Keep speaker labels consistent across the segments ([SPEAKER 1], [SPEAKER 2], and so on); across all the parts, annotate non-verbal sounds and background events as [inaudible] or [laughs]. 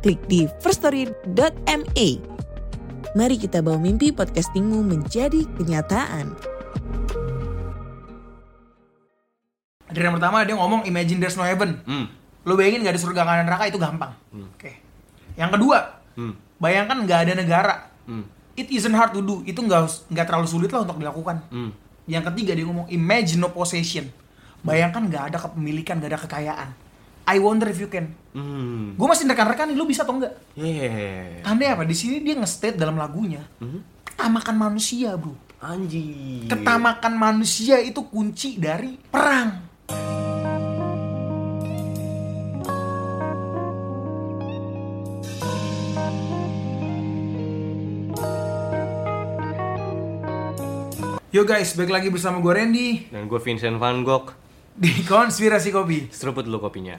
[SPEAKER 1] klik di firststory.me. Mari kita bawa mimpi podcastingmu menjadi kenyataan.
[SPEAKER 2] Dari yang pertama dia ngomong imagine there's no heaven.
[SPEAKER 3] Hmm.
[SPEAKER 2] Lo bayangin gak ada surga kanan neraka itu gampang. Oke. Yang kedua,
[SPEAKER 3] Hmm.
[SPEAKER 2] bayangkan nggak ada negara.
[SPEAKER 3] Hmm.
[SPEAKER 2] It isn't hard to do. Itu nggak us- nggak terlalu sulit lah untuk dilakukan.
[SPEAKER 3] Hmm.
[SPEAKER 2] Yang ketiga dia ngomong imagine no possession. Bayangkan nggak ada kepemilikan, nggak ada kekayaan. I wonder if you can.
[SPEAKER 3] Hmm.
[SPEAKER 2] Gue masih rekan-rekan, lo bisa atau enggak?
[SPEAKER 3] Yeah.
[SPEAKER 2] Tandanya apa? Di sini dia nge-state dalam lagunya.
[SPEAKER 3] Hmm.
[SPEAKER 2] Ketamakan manusia, bro.
[SPEAKER 3] Anjir.
[SPEAKER 2] Iya. Ketamakan manusia itu kunci dari perang. Yo guys, balik lagi bersama gue Randy
[SPEAKER 3] Dan gue Vincent Van Gogh.
[SPEAKER 2] di Konspirasi Kopi.
[SPEAKER 3] Seruput dulu kopinya.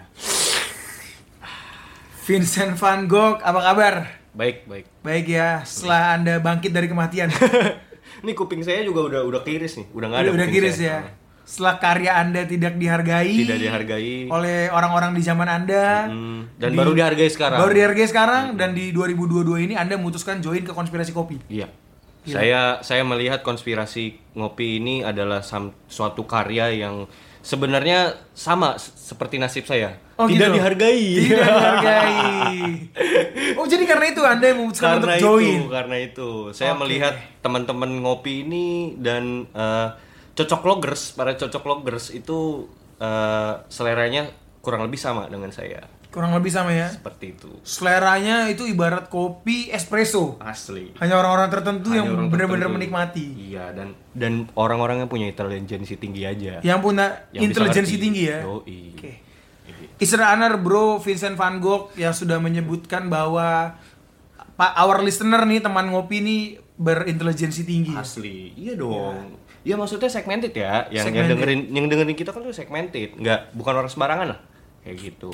[SPEAKER 2] Vincent Van Gogh, apa kabar?
[SPEAKER 3] Baik, baik.
[SPEAKER 2] Baik ya, setelah anda bangkit dari kematian. [laughs]
[SPEAKER 3] Ini kuping saya juga udah udah kiris nih. Udah nggak ada.
[SPEAKER 2] udah, udah
[SPEAKER 3] kuping
[SPEAKER 2] kiris
[SPEAKER 3] saya. Ah.
[SPEAKER 2] ya. Setelah karya anda tidak dihargai,
[SPEAKER 3] Tidak dihargai.
[SPEAKER 2] oleh orang-orang di zaman anda,
[SPEAKER 3] Hmm. Dan baru dihargai sekarang.
[SPEAKER 2] Baru dihargai sekarang dan di 2022 ini Anda memutuskan join ke konspirasi kopi.
[SPEAKER 3] Iya. Saya saya melihat konspirasi ngopi ini adalah sam- suatu karya yang sebenarnya sama s- seperti nasib saya.
[SPEAKER 2] Oh,
[SPEAKER 3] Tidak
[SPEAKER 2] gitu.
[SPEAKER 3] dihargai.
[SPEAKER 2] Tidak
[SPEAKER 3] [laughs]
[SPEAKER 2] dihargai. Oh, jadi karena itu Anda yang memutuskan
[SPEAKER 3] karena
[SPEAKER 2] kan untuk join.
[SPEAKER 3] itu karena itu saya
[SPEAKER 2] Oke.
[SPEAKER 3] melihat teman-teman ngopi ini dan eh, cocok loggers para cocok loggers itu eh, seleranya kurang lebih sama dengan saya
[SPEAKER 2] Kurang lebih sama ya.
[SPEAKER 3] seperti itu
[SPEAKER 2] Seleranya itu ibarat kopi espresso.
[SPEAKER 3] asli
[SPEAKER 2] Hanya orang-orang tertentu yang
[SPEAKER 3] Hanya orang
[SPEAKER 2] benar-benar
[SPEAKER 3] tertentu.
[SPEAKER 2] menikmati.
[SPEAKER 3] iya dan dan orang-orang yang punya intelijensi tinggi aja
[SPEAKER 2] Yang punya
[SPEAKER 3] Yang bisa
[SPEAKER 2] intelijensi Ya,
[SPEAKER 3] ngerti.
[SPEAKER 2] tinggi ya.
[SPEAKER 3] Yoi.
[SPEAKER 2] Oke. It's an honor bro Vincent Van Gogh yang sudah menyebutkan bahwa Pak our listener nih teman ngopi nih berintelijensi tinggi.
[SPEAKER 3] asli iya dong ya maksudnya segmented ya yang yang
[SPEAKER 2] Segmented.
[SPEAKER 3] dengerin yang dengerin kita kan tuh segmented nggak bukan orang sembarangan lah kayak gitu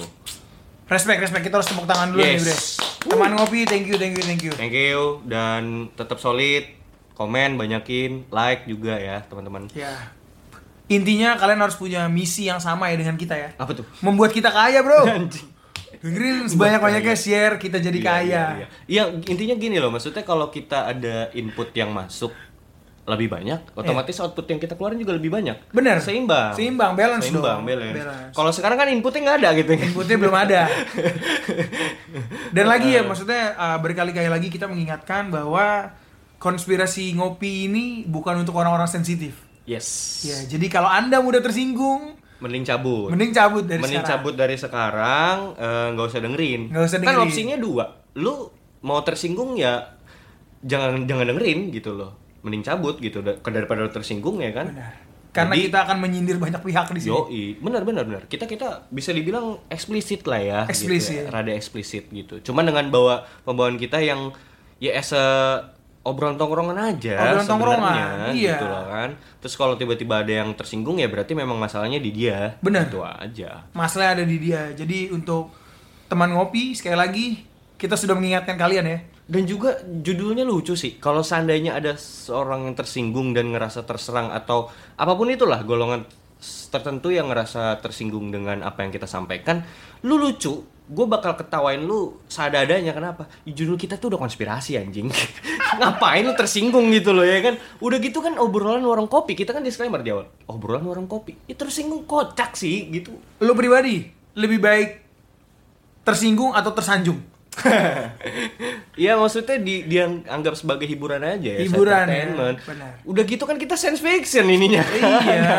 [SPEAKER 2] Respect, respect. Kita harus tepuk tangan dulu nih,
[SPEAKER 3] Yes.
[SPEAKER 2] Bre. Teman ngopi, thank you, thank you, thank you.
[SPEAKER 3] Thank you dan tetap solid. Komen banyakin, like juga ya, teman-teman.
[SPEAKER 2] Ya. Intinya kalian harus punya misi yang sama ya dengan kita ya.
[SPEAKER 3] Apa tuh?
[SPEAKER 2] Membuat kita kaya, Bro.
[SPEAKER 3] Oh. [laughs] Anjing.
[SPEAKER 2] Dengerin sebanyak-banyaknya share, kita Oh, jadi
[SPEAKER 3] Iya,
[SPEAKER 2] kaya.
[SPEAKER 3] Iya, iya. Iya, intinya gini loh, maksudnya kalau kita ada input yang masuk lebih
[SPEAKER 2] Iya.
[SPEAKER 3] banyak, otomatis output yang kita keluarin juga lebih banyak.
[SPEAKER 2] Bener.
[SPEAKER 3] Seimbang.
[SPEAKER 2] Seimbang, balance
[SPEAKER 3] Seimbang,
[SPEAKER 2] dong.
[SPEAKER 3] balance.
[SPEAKER 2] Balance.
[SPEAKER 3] Kalau sekarang kan inputnya nggak ada gitu.
[SPEAKER 2] Inputnya belum
[SPEAKER 3] [laughs]
[SPEAKER 2] ada. Dan lagi
[SPEAKER 3] Eh.
[SPEAKER 2] ya, maksudnya uh, berkali-kali lagi kita mengingatkan bahwa konspirasi ngopi ini bukan untuk orang-orang sensitif.
[SPEAKER 3] Yes.
[SPEAKER 2] Ya, jadi kalau Anda mudah tersinggung,
[SPEAKER 3] Mending cabut.
[SPEAKER 2] mending cabut dari
[SPEAKER 3] Mending
[SPEAKER 2] sekarang.
[SPEAKER 3] cabut dari sekarang, eh, nggak usah dengerin.
[SPEAKER 2] Nggak usah dengerin.
[SPEAKER 3] Kan opsinya dua. Lu mau tersinggung ya jangan jangan dengerin gitu loh. Mending cabut gitu da- daripada lu tersinggung ya kan.
[SPEAKER 2] Benar. Karena
[SPEAKER 3] Jadi-
[SPEAKER 2] kita akan menyindir banyak pihak di sini.
[SPEAKER 3] Yoi, benar benar benar. Kita kita bisa dibilang eksplisit lah ya. gitu
[SPEAKER 2] Eksplisit.
[SPEAKER 3] ya. Rada eksplisit gitu. Cuman dengan bawa pembawaan kita yang ya as a obrolan tongkrongan aja
[SPEAKER 2] Obrolan tongkrongan,
[SPEAKER 3] sebenarnya,
[SPEAKER 2] iya.
[SPEAKER 3] gitu loh kan. Terus kalau tiba-tiba ada yang tersinggung ya berarti memang masalahnya di dia.
[SPEAKER 2] Benar.
[SPEAKER 3] Gitu aja.
[SPEAKER 2] masalahnya ada di dia. Jadi untuk teman ngopi sekali lagi kita sudah mengingatkan kalian ya.
[SPEAKER 3] Dan juga judulnya lucu sih. Kalau seandainya ada seorang yang tersinggung dan ngerasa terserang atau apapun itulah golongan s- tertentu yang ngerasa tersinggung dengan apa yang kita sampaikan, lu lucu. Gue bakal ketawain lu sadadanya kenapa? Judul kita tuh udah konspirasi anjing. [laughs] Ngapain lu tersinggung gitu loh ya kan? Udah gitu kan obrolan warung kopi. Kita kan disclaimer di awal. Obrolan warung kopi. Ya tersinggung kocak sih gitu.
[SPEAKER 2] Lu pribadi lebih baik tersinggung atau tersanjung?
[SPEAKER 3] [laughs] Iya maksudnya di dianggap sebagai hiburan aja ya.
[SPEAKER 2] Hiburan,
[SPEAKER 3] entertainment.
[SPEAKER 2] ya, benar.
[SPEAKER 3] Udah gitu kan kita science fiction ininya.
[SPEAKER 2] iya.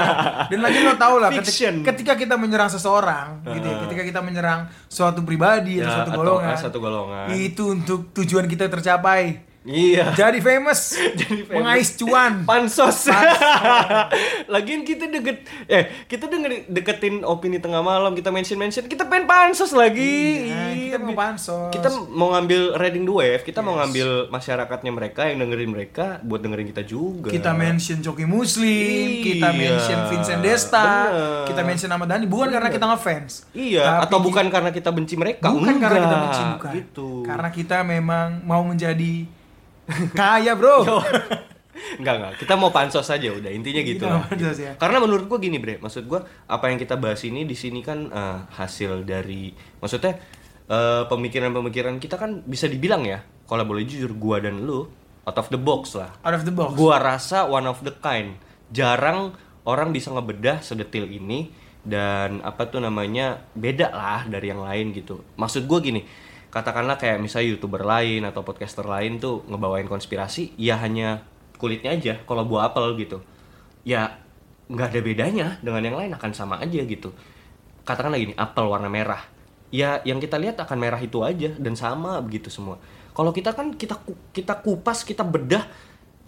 [SPEAKER 2] Dan lagi lo tau lah keti-
[SPEAKER 3] Fiction.
[SPEAKER 2] ketika kita menyerang seseorang gitu ya, ketika kita menyerang suatu pribadi
[SPEAKER 3] Ya,
[SPEAKER 2] atau suatu
[SPEAKER 3] atau,
[SPEAKER 2] golongan.
[SPEAKER 3] eh, satu golongan.
[SPEAKER 2] Itu untuk tujuan kita tercapai. [laughs]
[SPEAKER 3] Iya.
[SPEAKER 2] Jadi famous.
[SPEAKER 3] [laughs] Jadi famous.
[SPEAKER 2] Mengais
[SPEAKER 3] [laughs]
[SPEAKER 2] cuan.
[SPEAKER 3] Pansos. Lagian kita deket eh kita denger deketin opini tengah malam, kita mention-mention, kita pengen pansos lagi. gitu.
[SPEAKER 2] Iya, kita mau pansos.
[SPEAKER 3] Kita mau ngambil reading the wave, kita mau ngambil masyarakatnya mereka yang dengerin mereka buat dengerin kita juga.
[SPEAKER 2] Kita mention Coki Muslim, kita
[SPEAKER 3] Iya.
[SPEAKER 2] mention Vincent Desta,
[SPEAKER 3] Bener.
[SPEAKER 2] kita mention Ahmad Dhani bukan karena kita ngefans.
[SPEAKER 3] Iya,
[SPEAKER 2] Tapi
[SPEAKER 3] atau
[SPEAKER 2] kita-
[SPEAKER 3] bukan karena kita benci mereka.
[SPEAKER 2] bukan karena kita
[SPEAKER 3] Enggak,
[SPEAKER 2] benci bukan.
[SPEAKER 3] Gitu.
[SPEAKER 2] Karena kita memang mau menjadi kaya,
[SPEAKER 3] [laughs]
[SPEAKER 2] Bro.
[SPEAKER 3] Enggak, enggak. Kita mau pansos aja udah intinya gitu.
[SPEAKER 2] Kita
[SPEAKER 3] lah.
[SPEAKER 2] mau pansos ya.
[SPEAKER 3] Karena menurut gua gini, Bre. Maksud gua apa yang kita bahas ini di sini kan eh, hasil dari maksudnya eh, pemikiran-pemikiran kita kan bisa dibilang ya, kalau boleh jujur gua dan lu out of the box lah.
[SPEAKER 2] Out of the box.
[SPEAKER 3] Gua rasa one of the kind. Jarang orang bisa ngebedah sedetil ini dan apa tuh namanya beda lah dari yang lain gitu. Maksud gue gini, katakanlah kayak misalnya youtuber lain atau podcaster lain tuh ngebawain konspirasi, ya hanya kulitnya aja. Kalau buah apel gitu, ya nggak ada bedanya dengan yang lain akan sama aja gitu. Katakanlah gini, apel warna merah ya yang kita lihat akan merah itu aja dan sama begitu semua. Kalau kita kan kita ku- kita kupas, kita bedah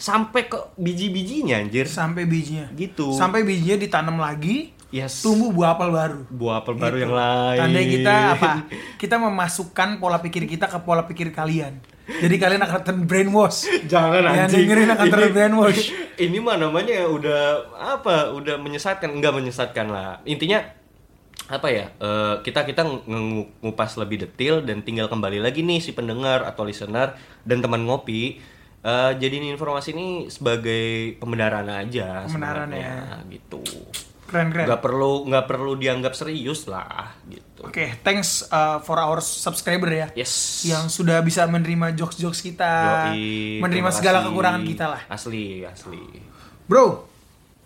[SPEAKER 3] sampai ke biji-bijinya anjir.
[SPEAKER 2] sampai bijinya.
[SPEAKER 3] Gitu.
[SPEAKER 2] Sampai bijinya ditanam lagi,
[SPEAKER 3] Yes.
[SPEAKER 2] tumbuh buah apel baru.
[SPEAKER 3] buah apel baru
[SPEAKER 2] Gitu.
[SPEAKER 3] yang lain.
[SPEAKER 2] Tandanya kita
[SPEAKER 3] [laughs]
[SPEAKER 2] apa? Kita memasukkan pola pikir kita ke pola pikir kalian. Jadi kalian akan terbrainwash.
[SPEAKER 3] Jangan
[SPEAKER 2] Yang
[SPEAKER 3] anjing.
[SPEAKER 2] dengerin akan
[SPEAKER 3] Ini-
[SPEAKER 2] terbrainwash.
[SPEAKER 3] [laughs] Ini mah namanya udah apa? Udah menyesatkan, enggak menyesatkan lah. Intinya apa ya? eh, kita kita nge- ngupas lebih detail dan tinggal kembali lagi nih si pendengar atau listener dan teman ngopi eh, jadiin informasi ini sebagai pembenaran aja
[SPEAKER 2] Pembenaran ya.
[SPEAKER 3] sebenarnya, gitu.
[SPEAKER 2] Keren-keren.
[SPEAKER 3] Nggak perlu nggak perlu dianggap serius lah gitu.
[SPEAKER 2] Oke, thanks uh, for our subscriber ya.
[SPEAKER 3] Yes.
[SPEAKER 2] Yang sudah bisa menerima jokes-jokes kita,
[SPEAKER 3] Yoi,
[SPEAKER 2] menerima
[SPEAKER 3] terima
[SPEAKER 2] segala
[SPEAKER 3] kasih.
[SPEAKER 2] kekurangan kita lah.
[SPEAKER 3] Asli, asli.
[SPEAKER 2] Bro,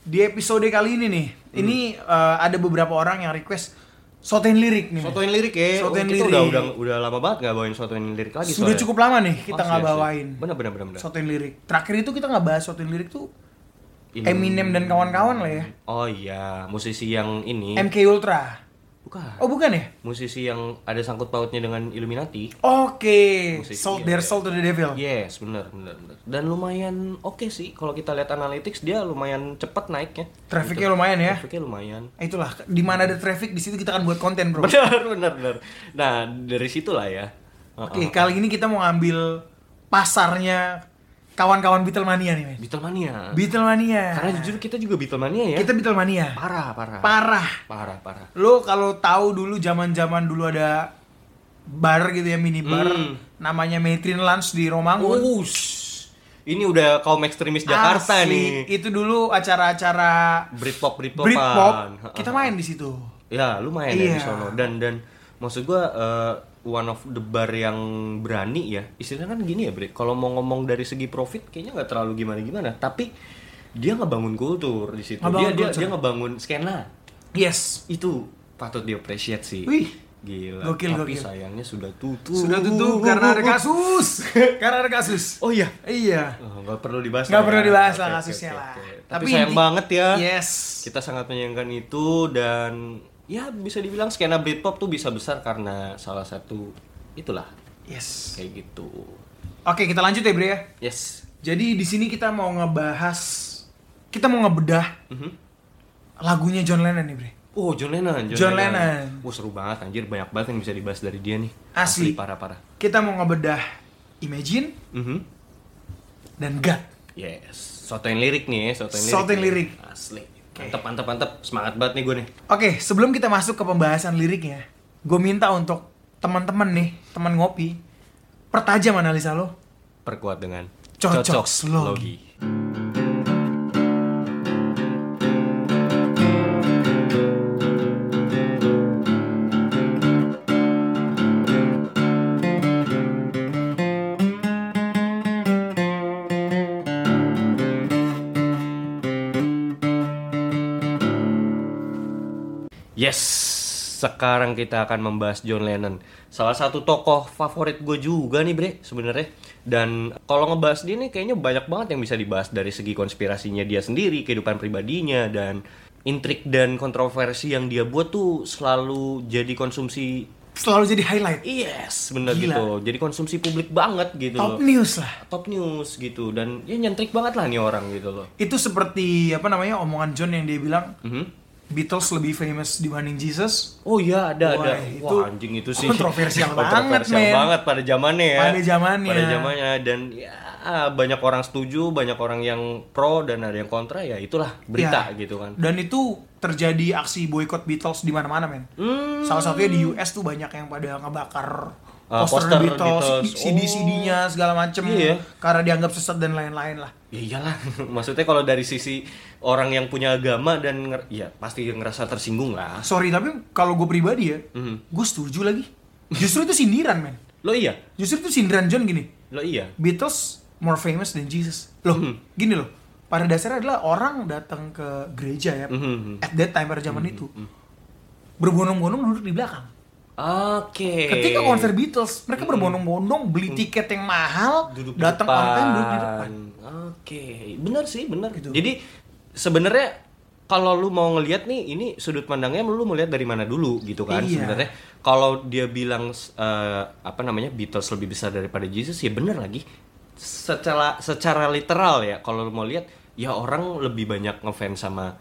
[SPEAKER 2] di episode kali ini nih,
[SPEAKER 3] Hmm.
[SPEAKER 2] ini uh, ada beberapa orang yang request sotein lirik nih.
[SPEAKER 3] Sotoin lirik ya.
[SPEAKER 2] Sotoin
[SPEAKER 3] kita
[SPEAKER 2] lirik.
[SPEAKER 3] Udah, udah udah lama banget nggak bawain sotoin lirik lagi. ya? Oh,
[SPEAKER 2] Sudah cukup lama nih kita nggak bawain
[SPEAKER 3] Bener bener bener. bener.
[SPEAKER 2] sotein lirik. Terakhir itu kita nggak bahas sotein lirik tuh
[SPEAKER 3] Ini-
[SPEAKER 2] Eminem dan kawan-kawan lah ya.
[SPEAKER 3] Oh iya, musisi yang ini.
[SPEAKER 2] MK Ultra.
[SPEAKER 3] Bukan.
[SPEAKER 2] Oh bukan ya?
[SPEAKER 3] Musisi yang ada sangkut pautnya dengan Illuminati.
[SPEAKER 2] Oke,
[SPEAKER 3] Musisi,
[SPEAKER 2] Sold
[SPEAKER 3] iya,
[SPEAKER 2] Their
[SPEAKER 3] iya.
[SPEAKER 2] Soul to the Devil.
[SPEAKER 3] Yes, bener bener bener. Dan lumayan oke sih kalau kita lihat analytics dia lumayan cepet naiknya. Gitu.
[SPEAKER 2] Trafficnya lumayan ya.
[SPEAKER 3] Trafficnya lumayan. [laughs]
[SPEAKER 2] Itulah, di mana ada traffic di situ kita akan buat konten, Bro. Oke,
[SPEAKER 3] Bener bener bener. Nah dari situlah ya. Heeh.
[SPEAKER 2] kali ini kita mau ngambil pasarnya kawan-kawan Beatlemania nih, men.
[SPEAKER 3] Beatlemania.
[SPEAKER 2] Beatlemania.
[SPEAKER 3] Karena jujur kita juga Beatlemania ya.
[SPEAKER 2] kita Beatlemania.
[SPEAKER 3] parah parah.
[SPEAKER 2] Parah.
[SPEAKER 3] parah parah.
[SPEAKER 2] Lo kalau tahu dulu zaman-zaman dulu ada bar gitu ya minibar
[SPEAKER 3] Hmm.
[SPEAKER 2] namanya Metrin Lunch di Romangun.
[SPEAKER 3] Ush. Ini udah kaum ekstremis Jakarta
[SPEAKER 2] Asli,
[SPEAKER 3] nih.
[SPEAKER 2] Itu dulu acara-acara
[SPEAKER 3] Britpop Britpopan.
[SPEAKER 2] Britpop. Kita main di situ.
[SPEAKER 3] Ya, lumayan ya
[SPEAKER 2] Iya.
[SPEAKER 3] di sono. Dan dan maksud gua eh, one of the bar yang berani ya. Istilahnya kan gini ya, Bre. Kalau mau ngomong dari segi profit kayaknya nggak terlalu gimana-gimana, tapi dia ngebangun kultur di situ.
[SPEAKER 2] Ngebangun
[SPEAKER 3] Dia dia
[SPEAKER 2] kultur.
[SPEAKER 3] dia ngebangun skena.
[SPEAKER 2] Yes.
[SPEAKER 3] Itu patut diapresiat sih.
[SPEAKER 2] Wih.
[SPEAKER 3] Gila.
[SPEAKER 2] Gokil,
[SPEAKER 3] tapi
[SPEAKER 2] gokil.
[SPEAKER 3] sayangnya sudah tutup.
[SPEAKER 2] Sudah tutup karena ada
[SPEAKER 3] [laughs]
[SPEAKER 2] kasus. karena ada kasus.
[SPEAKER 3] Oh iya.
[SPEAKER 2] Iya.
[SPEAKER 3] Oh, nggak perlu dibahas.
[SPEAKER 2] Nggak
[SPEAKER 3] lah
[SPEAKER 2] perlu
[SPEAKER 3] ya.
[SPEAKER 2] dibahas
[SPEAKER 3] Oke,
[SPEAKER 2] lah
[SPEAKER 3] oke,
[SPEAKER 2] kasusnya
[SPEAKER 3] oke,
[SPEAKER 2] lah.
[SPEAKER 3] oke. Tapi,
[SPEAKER 2] Tapi
[SPEAKER 3] sayang
[SPEAKER 2] inti- Iya,
[SPEAKER 3] banget ya.
[SPEAKER 2] Yes.
[SPEAKER 3] Kita sangat menyayangkan itu dan ya bisa dibilang skena Britpop tuh bisa besar karena salah satu itulah
[SPEAKER 2] Yes.
[SPEAKER 3] kayak gitu.
[SPEAKER 2] Oke, kita lanjut ya, Bre ya.
[SPEAKER 3] Yes.
[SPEAKER 2] Jadi di sini kita mau ngebahas kita mau ngebedah
[SPEAKER 3] Mhm.
[SPEAKER 2] lagunya John Lennon nih, Bre.
[SPEAKER 3] Oh John Lennon.
[SPEAKER 2] John Lennon.
[SPEAKER 3] Wah seru banget anjir banyak banget yang bisa dibahas dari dia nih.
[SPEAKER 2] Asli.
[SPEAKER 3] parah parah.
[SPEAKER 2] Kita mau ngebedah Imagine
[SPEAKER 3] Mhm.
[SPEAKER 2] dan God.
[SPEAKER 3] Yes. Sotoin lirik nih, sotoin lirik.
[SPEAKER 2] Sotoin
[SPEAKER 3] nih.
[SPEAKER 2] lirik.
[SPEAKER 3] Asli. Mantep mantep mantep. Semangat banget nih gue nih.
[SPEAKER 2] Oke, sebelum kita masuk ke pembahasan liriknya, gue minta untuk teman-teman nih, teman ngopi, pertajam analisa lo.
[SPEAKER 3] Perkuat dengan
[SPEAKER 2] Cocok
[SPEAKER 3] slogi. Yes, sekarang kita akan membahas John Lennon. Salah satu tokoh favorit gue juga nih Bre sebenarnya. Dan kalau ngebahas dia nih kayaknya banyak banget yang bisa dibahas dari segi konspirasinya dia sendiri, kehidupan pribadinya dan intrik dan kontroversi yang dia buat tuh selalu jadi konsumsi
[SPEAKER 2] selalu jadi highlight.
[SPEAKER 3] Iya. Yes, bener
[SPEAKER 2] Gila.
[SPEAKER 3] gitu. Jadi konsumsi publik banget gitu
[SPEAKER 2] Top
[SPEAKER 3] loh.
[SPEAKER 2] news lah.
[SPEAKER 3] Top news gitu dan ya nyentrik banget lah nih orang gitu loh.
[SPEAKER 2] Itu seperti apa namanya omongan John yang dia bilang
[SPEAKER 3] Mhm.
[SPEAKER 2] Beatles lebih famous dibanding Jesus.
[SPEAKER 3] Oh iya ada
[SPEAKER 2] Wah,
[SPEAKER 3] ada.
[SPEAKER 2] itu
[SPEAKER 3] Wah anjing itu sih
[SPEAKER 2] kontroversial
[SPEAKER 3] [laughs]
[SPEAKER 2] banget,
[SPEAKER 3] Kontroversial
[SPEAKER 2] men.
[SPEAKER 3] banget pada zamannya ya.
[SPEAKER 2] Pada zamannya.
[SPEAKER 3] Pada zamannya dan ya banyak orang setuju, banyak orang yang pro dan ada yang kontra ya itulah berita
[SPEAKER 2] Ya.
[SPEAKER 3] gitu kan.
[SPEAKER 2] Dan itu terjadi aksi boykot Beatles di mana-mana men.
[SPEAKER 3] Hmm.
[SPEAKER 2] Salah satunya di US tuh banyak yang pada ngebakar
[SPEAKER 3] Ah,
[SPEAKER 2] poster,
[SPEAKER 3] poster
[SPEAKER 2] Beatles,
[SPEAKER 3] Beatles. Oh.
[SPEAKER 2] CD-CD-nya segala macem
[SPEAKER 3] Iya.
[SPEAKER 2] karena dianggap sesat dan lain-lain lah.
[SPEAKER 3] Ya iyalah. [laughs] Maksudnya kalau dari sisi orang yang punya agama dan nger- ya pasti ngerasa tersinggung lah.
[SPEAKER 2] Sorry tapi kalau gue pribadi ya,
[SPEAKER 3] Mhm.
[SPEAKER 2] gue setuju lagi. Justru itu sindiran men.
[SPEAKER 3] Lo iya.
[SPEAKER 2] Justru itu sindiran John gini.
[SPEAKER 3] Lo iya.
[SPEAKER 2] Beatles more famous than Jesus. Loh,
[SPEAKER 3] Mhm.
[SPEAKER 2] gini loh. Pada dasarnya adalah orang datang ke gereja ya.
[SPEAKER 3] Mhm.
[SPEAKER 2] At that time pada zaman itu. Berbondong-bondong duduk di belakang.
[SPEAKER 3] Oke.
[SPEAKER 2] Ketika konser Beatles, mereka berbondong-bondong beli tiket yang mahal,
[SPEAKER 3] Mhm. kan duduk
[SPEAKER 2] datang
[SPEAKER 3] di
[SPEAKER 2] on
[SPEAKER 3] depan.
[SPEAKER 2] time duduk di depan.
[SPEAKER 3] Oke, benar sih, benar
[SPEAKER 2] Gitu.
[SPEAKER 3] Jadi sebenarnya kalau lu mau ngelihat nih, ini sudut pandangnya lu melihat dari mana dulu gitu kan
[SPEAKER 2] Iya.
[SPEAKER 3] sebenarnya. Kalau dia bilang eh, apa namanya Beatles lebih besar daripada Jesus, ya benar lagi. Secara secara literal ya, kalau lu mau lihat ya orang lebih banyak ngefans sama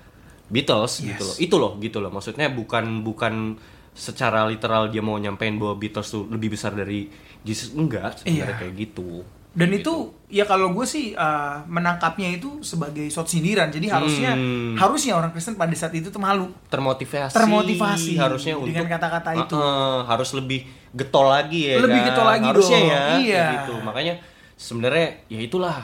[SPEAKER 3] Beatles gitu
[SPEAKER 2] Yes.
[SPEAKER 3] loh. Itu loh gitu loh. Maksudnya bukan bukan secara literal dia mau nyampein bahwa Beatles tuh lebih besar dari Jesus enggak sebenarnya
[SPEAKER 2] Iya.
[SPEAKER 3] kayak gitu.
[SPEAKER 2] Dan itu ya kalau gue sih eh, menangkapnya itu sebagai shot sindiran. Jadi harusnya
[SPEAKER 3] Hmm.
[SPEAKER 2] harusnya orang Kristen pada saat itu tuh malu.
[SPEAKER 3] termotivasi
[SPEAKER 2] Termotivasi
[SPEAKER 3] harusnya
[SPEAKER 2] dengan
[SPEAKER 3] untuk
[SPEAKER 2] kata-kata itu.
[SPEAKER 3] Heeh, harus lebih getol lagi ya
[SPEAKER 2] Lebih
[SPEAKER 3] kan?
[SPEAKER 2] getol lagi
[SPEAKER 3] harusnya
[SPEAKER 2] dong,
[SPEAKER 3] ya kayak
[SPEAKER 2] iya.
[SPEAKER 3] gitu makanya sebenarnya ya itulah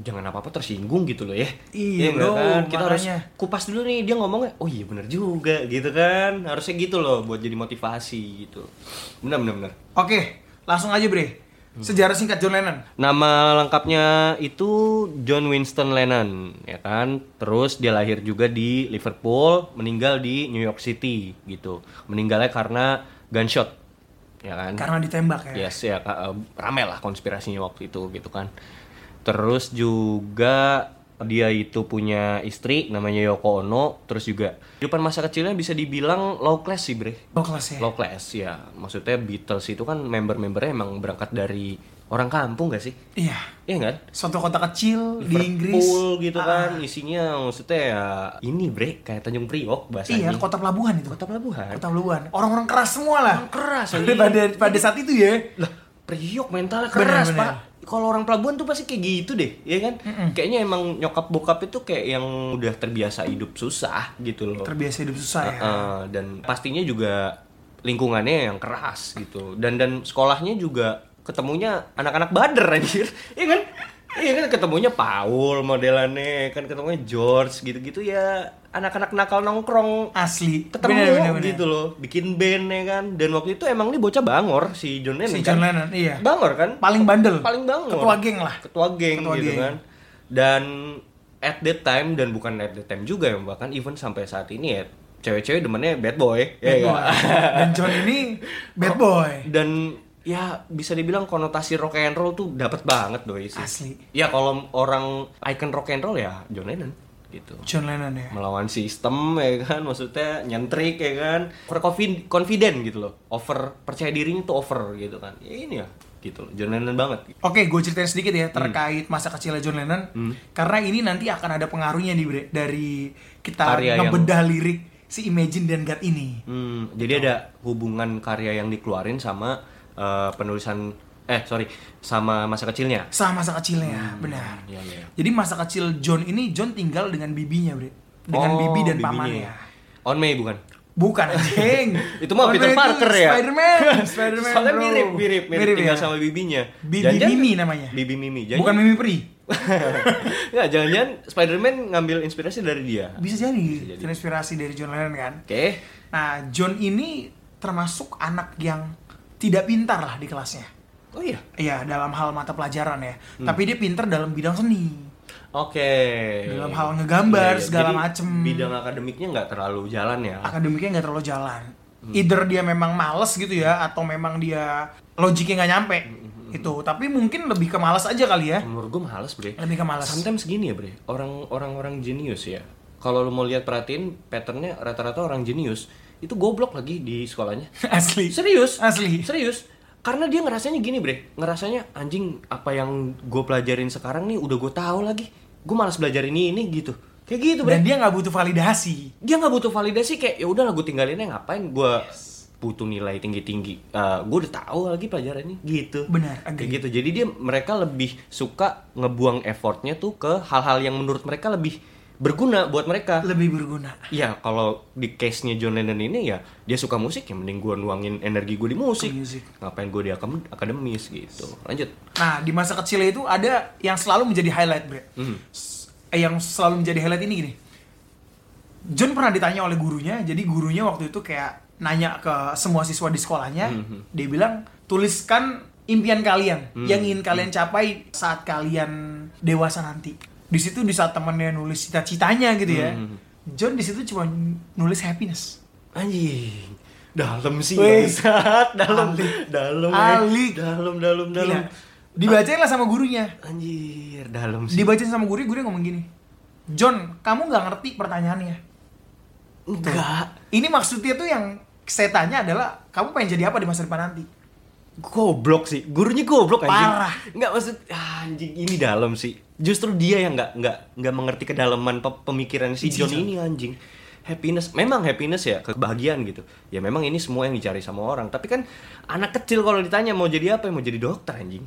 [SPEAKER 3] jangan apa apa tersinggung gitu loh ya
[SPEAKER 2] Iya
[SPEAKER 3] nggak
[SPEAKER 2] dong,
[SPEAKER 3] kan? kita harus
[SPEAKER 2] makanya.
[SPEAKER 3] kupas dulu nih dia ngomongnya oh iya bener juga gitu kan harusnya gitu loh buat jadi motivasi gitu benar benar benar
[SPEAKER 2] Oke, langsung aja Bre. Sejarah singkat John Lennon.
[SPEAKER 3] Nama lengkapnya itu John Winston Lennon, ya kan? Terus dia lahir juga di Liverpool, meninggal di New York City gitu. Meninggalnya karena gunshot, ya kan?
[SPEAKER 2] Karena ditembak ya.
[SPEAKER 3] Yes, ya ka- eh, rame lah konspirasinya waktu itu gitu kan. Terus juga dia itu punya istri namanya Yoko Ono, terus juga kehidupan masa kecilnya bisa dibilang low class sih, Bre
[SPEAKER 2] Low class ya.
[SPEAKER 3] low class ya maksudnya Beatles itu kan member-membernya emang berangkat dari orang kampung gak sih
[SPEAKER 2] Iya.
[SPEAKER 3] Iya kan
[SPEAKER 2] Suatu kota kecil di Inggris. Ah.
[SPEAKER 3] Liverpool gitu kan isinya maksudnya ya ini bre kayak Tanjung
[SPEAKER 2] Iya,
[SPEAKER 3] Priok bahasanya
[SPEAKER 2] kota pelabuhan itu.
[SPEAKER 3] Kota pelabuhan
[SPEAKER 2] Kota pelabuhan. Orang-orang keras semua lah.
[SPEAKER 3] keras
[SPEAKER 2] Pada,
[SPEAKER 3] anjing.
[SPEAKER 2] pada, pada saat itu ya.
[SPEAKER 3] lah Priok mentalnya
[SPEAKER 2] Bener,
[SPEAKER 3] keras
[SPEAKER 2] bener.
[SPEAKER 3] pak kalau orang pelabuhan tuh pasti kayak gitu deh ya kan kayaknya emang nyokap bokap itu kayak yang udah terbiasa hidup susah gitu loh
[SPEAKER 2] Terbiasa hidup susah ya.
[SPEAKER 3] Heeh, dan pastinya juga lingkungannya yang keras gitu dan dan sekolahnya juga ketemunya anak-anak bader anjir [laughs] iya kan iya kan ketemunya Paul modelannya kan ketemunya George gitu-gitu ya anak-anak nakal nongkrong
[SPEAKER 2] Asli.
[SPEAKER 3] ketemu
[SPEAKER 2] Bener, bener, bener.
[SPEAKER 3] gitu loh bikin band ya kan dan waktu itu emang nih bocah bangor si John Lennon
[SPEAKER 2] Si
[SPEAKER 3] kan?
[SPEAKER 2] John Lennon, iya.
[SPEAKER 3] bangor kan
[SPEAKER 2] Paling bandel.
[SPEAKER 3] paling bangor
[SPEAKER 2] Ketua geng lah.
[SPEAKER 3] ketua geng
[SPEAKER 2] Ketua
[SPEAKER 3] gitu
[SPEAKER 2] geng.
[SPEAKER 3] kan dan at that time dan bukan at that time juga ya bahkan even sampai saat ini ya cewek-cewek demennya bad boy
[SPEAKER 2] Bad
[SPEAKER 3] ya
[SPEAKER 2] boy.
[SPEAKER 3] nggak?
[SPEAKER 2] Dan John ini bad boy.
[SPEAKER 3] [laughs] dan ya bisa dibilang konotasi rock and roll tuh dapat banget doi sih
[SPEAKER 2] Asli.
[SPEAKER 3] ya kalau orang icon rock and roll ya John Lennon gitu
[SPEAKER 2] John Lennon ya.
[SPEAKER 3] melawan sistem ya kan maksudnya nyentrik ya kan over confi- confident gitu loh over percaya dirinya tuh over gitu kan ya ini ya gitu loh John Lennon banget
[SPEAKER 2] Oke, gue ceritain sedikit
[SPEAKER 3] Hmm.
[SPEAKER 2] ya terkait masa kecilnya John Lennon. Karena ini nanti akan ada pengaruhnya nih Bre, dari kita
[SPEAKER 3] Karya yang-
[SPEAKER 2] ngebedah lirik si Imagine dan God ini.
[SPEAKER 3] Hmm, jadi ada hubungan karya yang dikeluarin sama eh, penulisan eh sorry sama masa kecilnya.
[SPEAKER 2] Sama masa kecilnya, benar.
[SPEAKER 3] Iya iya.
[SPEAKER 2] Jadi masa kecil John ini John tinggal dengan bibinya, Bre. Dengan
[SPEAKER 3] Oh,
[SPEAKER 2] bibi dan
[SPEAKER 3] bibinya.
[SPEAKER 2] pamannya.
[SPEAKER 3] On May bukan?
[SPEAKER 2] Bukan anjing.
[SPEAKER 3] [laughs] Itu mah
[SPEAKER 2] Warna
[SPEAKER 3] Peter
[SPEAKER 2] itu
[SPEAKER 3] Parker ya. [laughs]
[SPEAKER 2] Spider-Man, Spider-Man.
[SPEAKER 3] Soalnya
[SPEAKER 2] bro.
[SPEAKER 3] mirip, mirip, mirip, tinggal
[SPEAKER 2] ya?
[SPEAKER 3] sama bibinya.
[SPEAKER 2] Bibi
[SPEAKER 3] Jangan-jangan-
[SPEAKER 2] Mimi namanya.
[SPEAKER 3] Bibi Mimi. [laughs]
[SPEAKER 2] Bukan Mimi Peri.
[SPEAKER 3] Enggak, jangan-jangan Spider-Man ngambil inspirasi dari dia.
[SPEAKER 2] Bisa jadi,
[SPEAKER 3] jadi.
[SPEAKER 2] terinspirasi dari John Lennon kan.
[SPEAKER 3] Oke.
[SPEAKER 2] Nah, John ini termasuk anak yang tidak pintar lah di kelasnya.
[SPEAKER 3] Oh iya.
[SPEAKER 2] Iya, dalam hal mata pelajaran ya. Tapi dia pintar dalam bidang seni.
[SPEAKER 3] Oke. Iya,
[SPEAKER 2] Dalam hal ngegambar, segala
[SPEAKER 3] Jadi,
[SPEAKER 2] macem.
[SPEAKER 3] Bidang akademiknya nggak terlalu jalan ya.
[SPEAKER 2] Akademiknya nggak terlalu jalan. Either dia memang males gitu ya, atau memang dia logiknya nggak nyampe. Itu, tapi mungkin lebih ke males aja kali ya.
[SPEAKER 3] Menurut gue males bre.
[SPEAKER 2] Lebih ke males.
[SPEAKER 3] Sometimes gini ya bre, orang orang orang jenius ya. Kalau lu mau lihat perhatiin patternnya rata-rata orang jenius itu goblok lagi di sekolahnya.
[SPEAKER 2] [laughs] Asli.
[SPEAKER 3] Serius?
[SPEAKER 2] Asli.
[SPEAKER 3] Serius? Karena dia ngerasanya gini bre, ngerasanya anjing apa yang gue pelajarin sekarang nih udah gue tahu lagi. Gue malas belajar ini ini gitu. Kayak gitu bre.
[SPEAKER 2] Dan dia nggak butuh validasi.
[SPEAKER 3] dia nggak butuh validasi kayak ya udahlah gue tinggalinnya ngapain gue butuh nilai tinggi tinggi gue udah tahu lagi pelajarannya gitu
[SPEAKER 2] Benar,
[SPEAKER 3] Kayak
[SPEAKER 2] agree.
[SPEAKER 3] gitu jadi dia mereka lebih suka ngebuang effortnya tuh ke hal-hal yang menurut mereka lebih berguna buat mereka
[SPEAKER 2] Lebih berguna.
[SPEAKER 3] ya kalau di case nya John Lennon ini ya dia suka musik ya mending gue nuangin energi gue di musik,
[SPEAKER 2] Ke musik.
[SPEAKER 3] ngapain gue di akam- akademis gitu lanjut
[SPEAKER 2] Nah, di masa kecil itu ada yang selalu menjadi highlight, Bre. S- eh, Yang selalu menjadi highlight ini gini. John pernah ditanya oleh gurunya, jadi gurunya waktu itu kayak nanya ke semua siswa di sekolahnya, dia bilang, "Tuliskan impian kalian yang ingin kalian capai saat kalian dewasa nanti." Di situ di saat temannya nulis cita-citanya gitu ya. John di situ cuma nulis happiness.
[SPEAKER 3] anjing dalam sih
[SPEAKER 2] Wih.
[SPEAKER 3] bangsat dalam dalam eh.
[SPEAKER 2] Alik.
[SPEAKER 3] dalam dalam dalam
[SPEAKER 2] Gila. Dibacain lah Iya. sama gurunya.
[SPEAKER 3] Anjir, dalam sih.
[SPEAKER 2] Dibacain sama gurunya, gurunya ngomong gini. John, kamu nggak ngerti pertanyaannya.
[SPEAKER 3] Enggak.
[SPEAKER 2] Ini maksudnya tuh yang saya tanya adalah kamu pengen jadi apa di masa depan nanti?
[SPEAKER 3] Goblok sih. Gurunya goblok anjing.
[SPEAKER 2] Parah.
[SPEAKER 3] Enggak maksud ah, anjing ini dalam sih. Justru dia yang enggak enggak enggak mengerti kedalaman pe- pemikiran si
[SPEAKER 2] Si
[SPEAKER 3] John
[SPEAKER 2] John.
[SPEAKER 3] ini anjing. Happiness, memang happiness ya, kebahagiaan gitu. Ya memang ini semua yang dicari sama orang. Tapi kan anak kecil kalau ditanya mau jadi apa, mau jadi dokter anjing.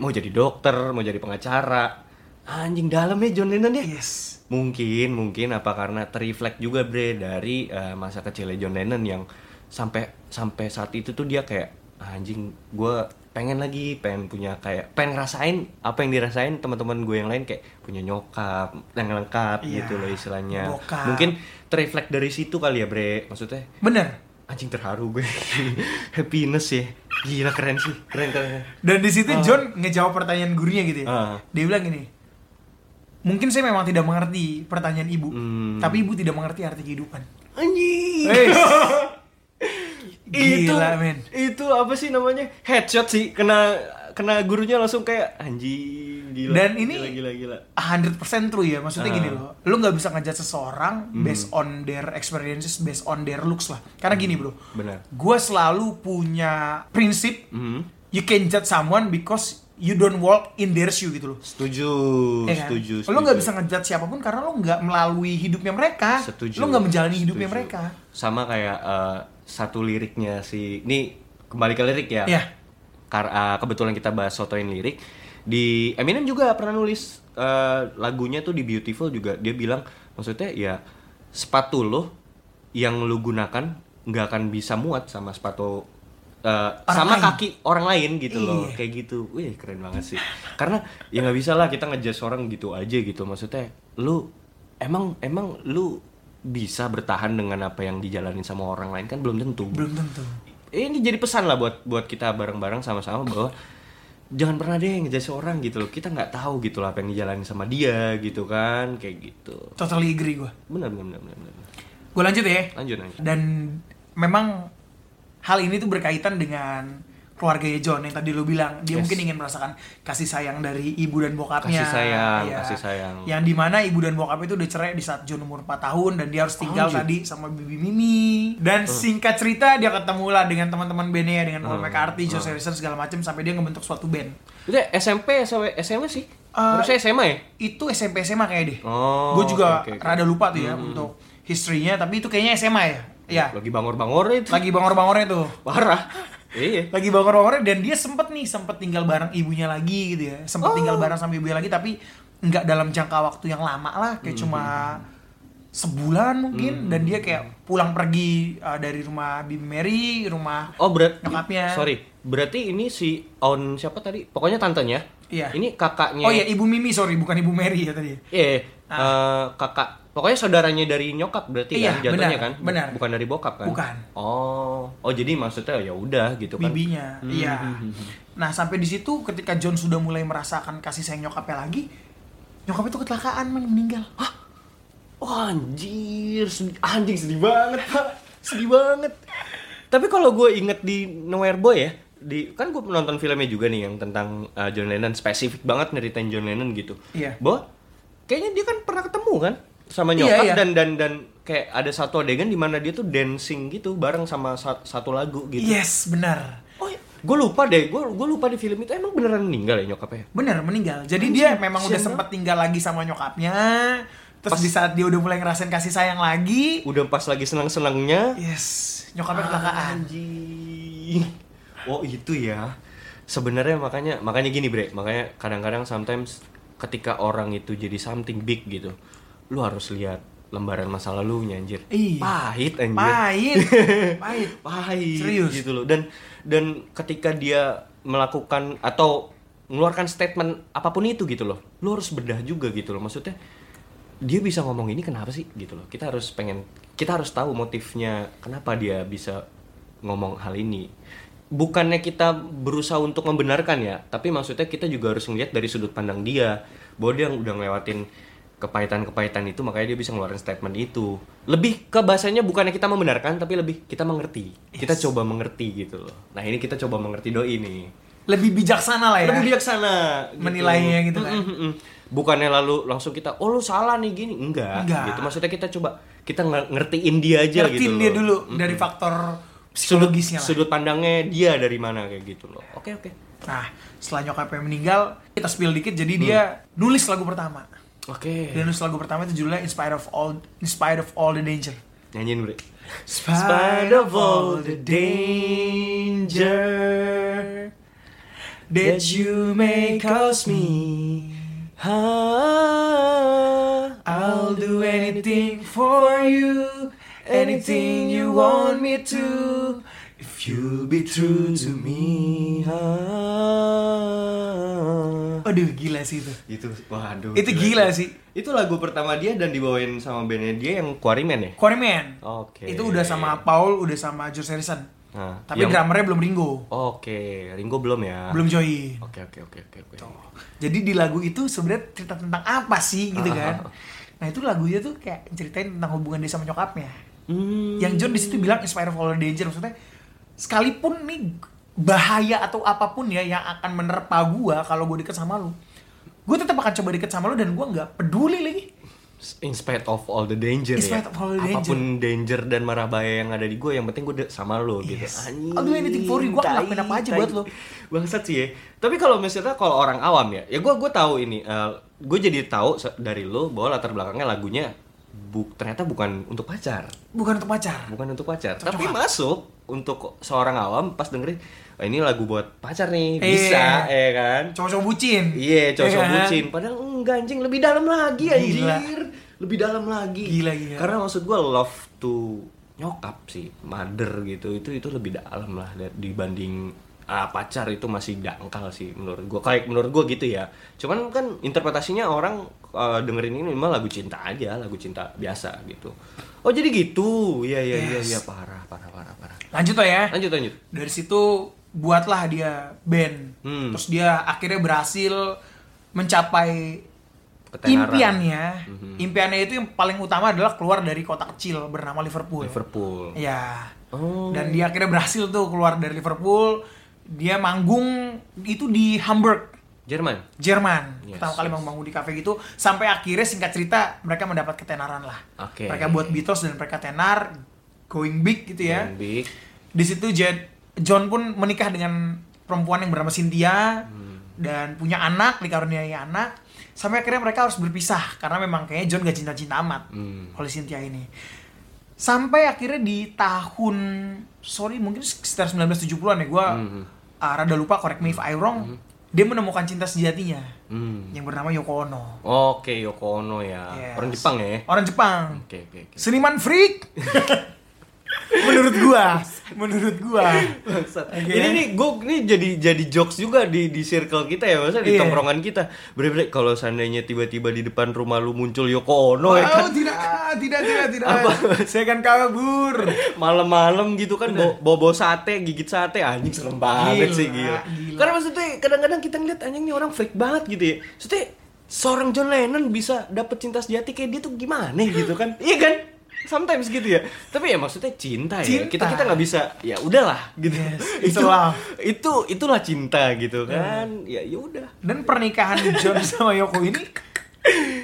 [SPEAKER 3] Mau jadi dokter, mau jadi pengacara. Anjing dalam ya John Lennon ya.
[SPEAKER 2] Yes.
[SPEAKER 3] Mungkin, mungkin apa karena terreflect juga bre dari eh, masa kecilnya John Lennon yang sampai sampai saat itu tuh dia kayak "Ah, anjing gue pengen lagi pengen punya kayak pengen ngerasain apa yang dirasain teman-teman gue yang lain kayak punya nyokap yang lengkap
[SPEAKER 2] Iya,
[SPEAKER 3] gitu loh istilahnya
[SPEAKER 2] bokap.
[SPEAKER 3] mungkin terreflect dari situ kali ya bre maksudnya
[SPEAKER 2] Bener.
[SPEAKER 3] anjing terharu gue [laughs] happiness ya gila keren sih keren keren keren.
[SPEAKER 2] Dan di situ John ngejawab pertanyaan gurunya gitu ya.
[SPEAKER 3] Ah.
[SPEAKER 2] Dia bilang gini, mungkin saya memang tidak mengerti pertanyaan ibu,
[SPEAKER 3] Hmm.
[SPEAKER 2] tapi ibu tidak mengerti arti kehidupan. Eh,
[SPEAKER 3] anjing
[SPEAKER 2] Wes.
[SPEAKER 3] itu
[SPEAKER 2] Gila men.
[SPEAKER 3] itu apa sih namanya headshot sih kena kena gurunya langsung kayak anjing gila
[SPEAKER 2] Dan ini-
[SPEAKER 3] gila gila, gila.
[SPEAKER 2] 100% true ya, maksudnya
[SPEAKER 3] Ah. Hmm.
[SPEAKER 2] gini loh. Lu nggak bisa ngejat seseorang based on their experiences, based on their looks lah. Karena gini bro,
[SPEAKER 3] benar
[SPEAKER 2] gue selalu punya prinsip
[SPEAKER 3] Mhm.
[SPEAKER 2] you can judge someone because you don't walk in their shoe gitu loh.
[SPEAKER 3] setuju
[SPEAKER 2] Ya kan?
[SPEAKER 3] setuju
[SPEAKER 2] Lo nggak bisa
[SPEAKER 3] setuju.
[SPEAKER 2] ngejudge siapapun karena lo nggak melalui hidupnya mereka.
[SPEAKER 3] setuju
[SPEAKER 2] Lo nggak menjalani hidupnya
[SPEAKER 3] Setuju.
[SPEAKER 2] mereka.
[SPEAKER 3] sama kayak eh, satu liriknya si ini kembali ke lirik ya
[SPEAKER 2] Iya.
[SPEAKER 3] Kar- eh, kebetulan kita bahas sotoin lirik di Eminem juga pernah nulis eh, lagunya tuh di Beautiful juga dia bilang maksudnya ya sepatu lo yang lo gunakan nggak akan bisa muat sama sepatu eh,
[SPEAKER 2] Orang
[SPEAKER 3] sama
[SPEAKER 2] lain.
[SPEAKER 3] kaki orang lain gitu loh
[SPEAKER 2] Iya.
[SPEAKER 3] kayak gitu wih keren banget sih karena ya nggak bisa lah kita ngejudge orang gitu aja gitu maksudnya lu emang emang lu bisa bertahan dengan apa yang dijalanin sama orang lain kan belum tentu
[SPEAKER 2] Belum tentu.
[SPEAKER 3] Eh, ini jadi pesan lah buat buat kita bareng-bareng sama-sama bahwa jangan pernah deh ngejudge orang gitu loh kita nggak tahu gitu loh apa yang dijalanin sama dia gitu kan kayak gitu
[SPEAKER 2] Totally agree gue.
[SPEAKER 3] benar benar benar benar benar.
[SPEAKER 2] Gue lanjut ya.
[SPEAKER 3] lanjut lanjut
[SPEAKER 2] Dan memang hal ini tuh berkaitan dengan keluarganya John yang tadi lo bilang dia
[SPEAKER 3] Yes.
[SPEAKER 2] mungkin ingin merasakan kasih sayang dari ibu dan bokapnya Iya.
[SPEAKER 3] Kasih sayang, kasih sayang.
[SPEAKER 2] yang dimana ibu dan bokap itu udah cerai di saat John umur 4 tahun dan dia harus tinggal
[SPEAKER 3] Oh, Anjir.
[SPEAKER 2] tadi sama bibi Mimi dan singkat cerita dia ketemu lah dengan teman-teman bandnya ya, dengan Paul
[SPEAKER 3] Hmm,
[SPEAKER 2] McCartney, Joe Harrison segala macam sampai dia ngebentuk suatu band
[SPEAKER 3] udah SMP SMA, SMA sih
[SPEAKER 2] Eh,
[SPEAKER 3] harusnya SMA ya
[SPEAKER 2] itu SMP SMA kayaknya deh
[SPEAKER 3] Oh,
[SPEAKER 2] gue juga
[SPEAKER 3] oke, Hmm, oke, oke.
[SPEAKER 2] rada lupa tuh ya untuk history-nya tapi itu kayaknya SMA ya ya
[SPEAKER 3] lagi bangor-bangor itu
[SPEAKER 2] lagi bangor-bangornya tuh
[SPEAKER 3] parah iya
[SPEAKER 2] lagi bangor-bangornya dan dia sempet nih sempet tinggal bareng ibunya lagi gitu ya sempet
[SPEAKER 3] Oh.
[SPEAKER 2] tinggal bareng sama ibunya lagi tapi nggak dalam jangka waktu yang lama lah kayak
[SPEAKER 3] Hmm.
[SPEAKER 2] cuma sebulan mungkin dan dia kayak pulang pergi uh, dari rumah Bibi Mary rumah
[SPEAKER 3] Oh berarti
[SPEAKER 2] Nyokapnya.
[SPEAKER 3] Sorry, berarti ini si on siapa tadi? Pokoknya tantenya.
[SPEAKER 2] Iya.
[SPEAKER 3] Ini
[SPEAKER 2] oh
[SPEAKER 3] kakaknya.
[SPEAKER 2] iya ibu Mimi sorry bukan ibu Mary ya tadi
[SPEAKER 3] Iya, iya. Eh, kakak. Pokoknya saudaranya dari nyokap berarti
[SPEAKER 2] Iya,
[SPEAKER 3] kan jatuhnya
[SPEAKER 2] benar,
[SPEAKER 3] kan? Bu-
[SPEAKER 2] benar.
[SPEAKER 3] Bukan dari bokap kan?
[SPEAKER 2] Bukan.
[SPEAKER 3] Oh, oh jadi maksudnya ya udah gitu kan?
[SPEAKER 2] bibinya
[SPEAKER 3] Hmm,
[SPEAKER 2] iya
[SPEAKER 3] hmm, hmm,
[SPEAKER 2] nah sampai di situ ketika John sudah mulai merasakan kasih sayang nyokapnya lagi nyokap itu kecelakaan men meninggal
[SPEAKER 3] Wah, anjir, sedih, anjing sedih banget pak, sedih banget. Tapi kalau gue inget di Nowhere Boy ya, di kan gue menonton filmnya juga nih yang tentang uh, John Lennon spesifik banget nyeritain John Lennon gitu.
[SPEAKER 2] Iya.
[SPEAKER 3] Bahwa kayaknya dia kan pernah ketemu kan sama
[SPEAKER 2] Iya,
[SPEAKER 3] nyokap
[SPEAKER 2] iya.
[SPEAKER 3] dan dan dan kayak ada satu adegan di mana dia tuh dancing gitu bareng sama sa- satu lagu gitu.
[SPEAKER 2] Yes, benar.
[SPEAKER 3] Oh, gue lupa deh, gue gue lupa di film itu emang beneran meninggal ya nyokapnya.
[SPEAKER 2] Bener, meninggal. Jadi
[SPEAKER 3] Anjing,
[SPEAKER 2] dia memang udah
[SPEAKER 3] kasihan
[SPEAKER 2] sempat tinggal lagi sama nyokapnya. Terus di saat dia udah mulai ngerasain kasih sayang lagi,
[SPEAKER 3] Udah pas lagi senang
[SPEAKER 2] Iya.
[SPEAKER 3] senangnya.
[SPEAKER 2] yes,
[SPEAKER 3] Ah.
[SPEAKER 2] nyokapnya kecelakaan.
[SPEAKER 3] Anjing. Oh itu ya. Sebenarnya makanya makanya gini bre, makanya kadang-kadang sometimes ketika orang itu jadi something big gitu, lu harus lihat lembaran masa lalunya anjir.
[SPEAKER 2] Iya.
[SPEAKER 3] Pahit anjir. [laughs]
[SPEAKER 2] Pahit, pahit.
[SPEAKER 3] pahit
[SPEAKER 2] Serius.
[SPEAKER 3] gitu loh dan dan ketika dia melakukan atau mengeluarkan statement apapun itu gitu loh lu harus bedah juga gitu loh maksudnya dia bisa ngomong ini kenapa sih gitu loh kita harus pengen kita harus tahu motifnya kenapa dia bisa ngomong hal ini bukannya kita berusaha untuk membenarkan ya tapi maksudnya kita juga harus ngelihat dari sudut pandang dia bahwa dia udah ngelewatin kepahitan-kepahitan itu makanya dia bisa ngeluarin statement itu lebih ke bahasanya bukannya kita membenarkan tapi lebih kita mengerti kita coba mengerti gitu loh nah ini kita coba mengerti doi nih
[SPEAKER 2] Lebih bijaksana lah ya.
[SPEAKER 3] lebih bijaksana
[SPEAKER 2] Menilainya gitu kan.
[SPEAKER 3] Mm, mm, mm. bukannya lalu langsung kita oh lu salah nih gini enggak,
[SPEAKER 2] Enggak.
[SPEAKER 3] gitu maksudnya kita coba kita nge- ngertiin dia aja
[SPEAKER 2] Ngertiin
[SPEAKER 3] gitu
[SPEAKER 2] dia
[SPEAKER 3] loh.
[SPEAKER 2] dulu
[SPEAKER 3] Mm.
[SPEAKER 2] dari faktor
[SPEAKER 3] sudut
[SPEAKER 2] psikologisnya lah.
[SPEAKER 3] sudut pandangnya dia dari mana kayak gitu loh oke oke
[SPEAKER 2] Nah, setelah nyokapnya meninggal, kita spill dikit
[SPEAKER 3] Hmm.
[SPEAKER 2] jadi dia nulis lagu pertama.
[SPEAKER 3] oke
[SPEAKER 2] Dia nulis lagu pertama itu judulnya Inspired of All Inspired of All the Danger.
[SPEAKER 3] nyanyiin bre
[SPEAKER 2] Spite of all the danger that you may cause me, I'll do anything for you, anything you want me to, if you'll be true to me. Aduh, gila sih itu.
[SPEAKER 3] itu waduh
[SPEAKER 2] Itu gila sih.
[SPEAKER 3] itu. itu lagu pertama dia dan dibawain sama bandnya dia yang Quarrymen ya
[SPEAKER 2] Quarryman.
[SPEAKER 3] Oke.
[SPEAKER 2] Itu udah sama Paul, udah sama George Harrison.
[SPEAKER 3] Nah,
[SPEAKER 2] Tapi
[SPEAKER 3] yang-
[SPEAKER 2] drummernya belum Ringo,
[SPEAKER 3] Oke, Ringo belum ya?
[SPEAKER 2] belum join.
[SPEAKER 3] Oke, oke, oke, oke. oke.
[SPEAKER 2] Jadi di lagu itu sebenarnya cerita tentang apa sih gitu
[SPEAKER 3] Ah.
[SPEAKER 2] kan? Nah itu lagunya tuh kayak ceritain tentang hubungan dia sama nyokapnya.
[SPEAKER 3] Hmm.
[SPEAKER 2] Yang John di situ bilang inspire of all danger maksudnya sekalipun nih bahaya atau apapun ya yang akan menerpa gua kalau gua deket sama lu, gua tetap akan coba deket sama lu dan gua nggak peduli lagi.
[SPEAKER 3] In spite of all the danger
[SPEAKER 2] In
[SPEAKER 3] ya.
[SPEAKER 2] spite of all the
[SPEAKER 3] Apapun danger dan marah bahaya yang ada di gue, yang penting gue de- sama lo gitu.
[SPEAKER 2] Yes.
[SPEAKER 3] Anjing,
[SPEAKER 2] I'll do anything for you. Gue akan
[SPEAKER 3] tai,
[SPEAKER 2] lakuin apa aja
[SPEAKER 3] tai.
[SPEAKER 2] buat lo.
[SPEAKER 3] Bangsat sih ya. Tapi kalau misalnya kalau orang awam ya, ya gue gue tahu ini. gue jadi tahu se- dari lo bahwa latar belakangnya lagunya bu ternyata bukan untuk pacar,
[SPEAKER 2] Bukan untuk pacar.
[SPEAKER 3] bukan untuk pacar.
[SPEAKER 2] Cocok
[SPEAKER 3] Tapi
[SPEAKER 2] lah.
[SPEAKER 3] masuk untuk seorang awam pas dengerin "Ah, ini lagu buat pacar nih
[SPEAKER 2] Iya.
[SPEAKER 3] bisa ya kan
[SPEAKER 2] Cowok-cowok bucin.
[SPEAKER 3] Iya, cocok
[SPEAKER 2] Iya kan?
[SPEAKER 3] bucin. Padahal enggak anjing, lebih dalam lagi anjir.
[SPEAKER 2] Gila.
[SPEAKER 3] Lebih dalam lagi.
[SPEAKER 2] Gila, gila.
[SPEAKER 3] Karena maksud gua love to nyokap sih, mother gitu. Itu itu lebih dalam lah da- dibanding ah, pacar itu masih dangkal sih menurut gua. Kayak menurut gua gitu ya. Cuman kan interpretasinya orang eh, dengerin ini mah lagu cinta aja, lagu cinta biasa gitu. Oh, jadi gitu. Iya, iya, iya, iya, parah, parah, parah, parah.
[SPEAKER 2] Lanjut lah ya.
[SPEAKER 3] Lanjut, lanjut.
[SPEAKER 2] dari situ buatlah dia band
[SPEAKER 3] Hmm.
[SPEAKER 2] terus dia akhirnya berhasil mencapai
[SPEAKER 3] Ketenaran. Hmm.
[SPEAKER 2] impiannya impiannya itu yang paling utama adalah keluar dari kota kecil bernama Liverpool
[SPEAKER 3] Liverpool.
[SPEAKER 2] ya
[SPEAKER 3] Oh.
[SPEAKER 2] dan dia akhirnya berhasil tuh keluar dari Liverpool dia manggung itu di Hamburg
[SPEAKER 3] Jerman.
[SPEAKER 2] Jerman
[SPEAKER 3] Yes,
[SPEAKER 2] pertama kali
[SPEAKER 3] yes.
[SPEAKER 2] manggung di cafe gitu sampai akhirnya singkat cerita mereka mendapat ketenaran lah
[SPEAKER 3] Oke.
[SPEAKER 2] mereka buat Beatles dan mereka tenar going big gitu ya
[SPEAKER 3] Yang Big.
[SPEAKER 2] di situ Jan- John pun menikah dengan perempuan yang bernama Cynthia dan punya anak dikaruniai anak sampai akhirnya mereka harus berpisah karena memang kayaknya John gak cinta-cinta amat
[SPEAKER 3] Hmm.
[SPEAKER 2] oleh Cynthia ini sampai akhirnya di tahun sorry mungkin sekitar 1970-an ya gue rada lupa correct me if I wrong dia menemukan cinta sejatinya
[SPEAKER 3] Hmm.
[SPEAKER 2] yang bernama Yoko Ono
[SPEAKER 3] Oke, Yoko Ono ya.
[SPEAKER 2] Yes.
[SPEAKER 3] Orang Jepang ya.
[SPEAKER 2] orang Jepang
[SPEAKER 3] Oke, oke, oke.
[SPEAKER 2] seniman freak menurut gua menurut gua Oke.
[SPEAKER 3] Ini nih gue ini jadi jadi jokes juga di di circle kita ya, masa di
[SPEAKER 2] Iya.
[SPEAKER 3] tongkrongan kita. Bener-bener kalau seandainya tiba-tiba di depan rumah lu muncul Yoko Ono
[SPEAKER 2] Oh,
[SPEAKER 3] ya kan
[SPEAKER 2] tidak, ah, tidak, tidak, tidak. Saya akan kabur.
[SPEAKER 3] malam-malam gitu kan bo- bobo sate, gigit sate anjing serem banget
[SPEAKER 2] Gila,
[SPEAKER 3] sih gila.
[SPEAKER 2] gila.
[SPEAKER 3] Karena maksudnya kadang-kadang kita ngeliat anjingnya orang freak banget gitu ya. Maksudnya seorang John Lennon bisa dapet cinta sejati kayak dia tuh gimana gitu kan? Iya kan? Sometimes gitu ya. Tapi ya maksudnya cinta, ya.
[SPEAKER 2] Cinta.
[SPEAKER 3] Kita kita nggak bisa ya udahlah gitu.
[SPEAKER 2] Yes,
[SPEAKER 3] [laughs]
[SPEAKER 2] it's
[SPEAKER 3] itu
[SPEAKER 2] love.
[SPEAKER 3] itu itulah cinta gitu kan. Ya ya udah.
[SPEAKER 2] Dan pernikahan John sama Yoko ini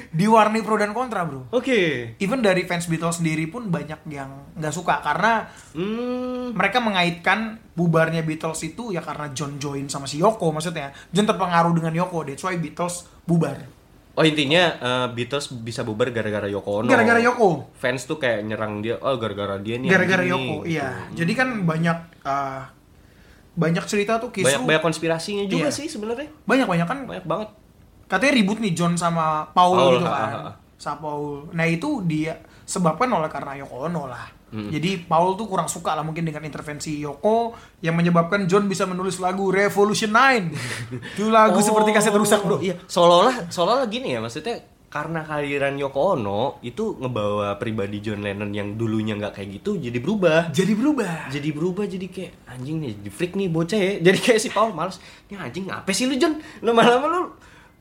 [SPEAKER 2] diwarnai pro dan kontra bro
[SPEAKER 3] Oke.
[SPEAKER 2] even dari fans Beatles sendiri pun banyak yang nggak suka karena
[SPEAKER 3] Hmm.
[SPEAKER 2] mereka mengaitkan bubarnya Beatles itu ya karena John join sama si Yoko maksudnya John terpengaruh dengan Yoko that's why Beatles bubar
[SPEAKER 3] Oh intinya eh, Beatles bisa bubar gara-gara Yoko Ono.
[SPEAKER 2] gara-gara Yoko
[SPEAKER 3] Fans tuh kayak nyerang dia, oh gara-gara dia nih. yang
[SPEAKER 2] gara-gara
[SPEAKER 3] gini."
[SPEAKER 2] Yoko
[SPEAKER 3] Gitu.
[SPEAKER 2] iya jadi kan banyak eh, banyak cerita tuh kisru
[SPEAKER 3] Gitu. Banyak banyak konspirasinya juga
[SPEAKER 2] Iya.
[SPEAKER 3] sih sebenarnya.
[SPEAKER 2] banyak banyak kan
[SPEAKER 3] Banyak banget.
[SPEAKER 2] katanya ribut nih John sama Paul,
[SPEAKER 3] Paul,
[SPEAKER 2] gitu
[SPEAKER 3] ha,
[SPEAKER 2] kan
[SPEAKER 3] ha, ha.
[SPEAKER 2] sama Paul nah itu dia sebabkan oleh karena Yoko Ono lah
[SPEAKER 3] Hmm.
[SPEAKER 2] jadi Paul tuh kurang suka lah mungkin dengan intervensi Yoko yang menyebabkan John bisa menulis lagu Revolution
[SPEAKER 3] [laughs]
[SPEAKER 2] 9 itu lagu
[SPEAKER 3] Oh,
[SPEAKER 2] seperti kaset rusak bro
[SPEAKER 3] Iya, seolah-olah seolah-olah gini ya maksudnya karena kehadiran Yoko Ono itu ngebawa pribadi John Lennon yang dulunya nggak kayak gitu jadi berubah.
[SPEAKER 2] jadi berubah
[SPEAKER 3] jadi berubah jadi kayak anjing nih jadi freak nih bocah ya jadi kayak si Paul males nih anjing apa sih lu John lama-lama lu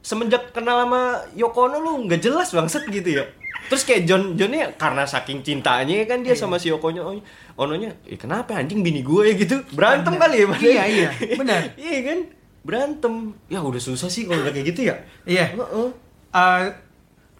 [SPEAKER 3] semenjak kenal sama Yoko Ono lu nggak jelas bangset gitu ya terus kayak John Johnnya karena saking cintanya kan dia sama si Yokonya Ono- Ononya eh kenapa anjing bini gue ya gitu berantem
[SPEAKER 2] Bener.
[SPEAKER 3] kali ya padahal.
[SPEAKER 2] Iya, iya. Bener.
[SPEAKER 3] [laughs] iya kan berantem ya udah susah sih kalau udah kayak gitu ya
[SPEAKER 2] Iya.
[SPEAKER 3] Heeh.
[SPEAKER 2] Eh,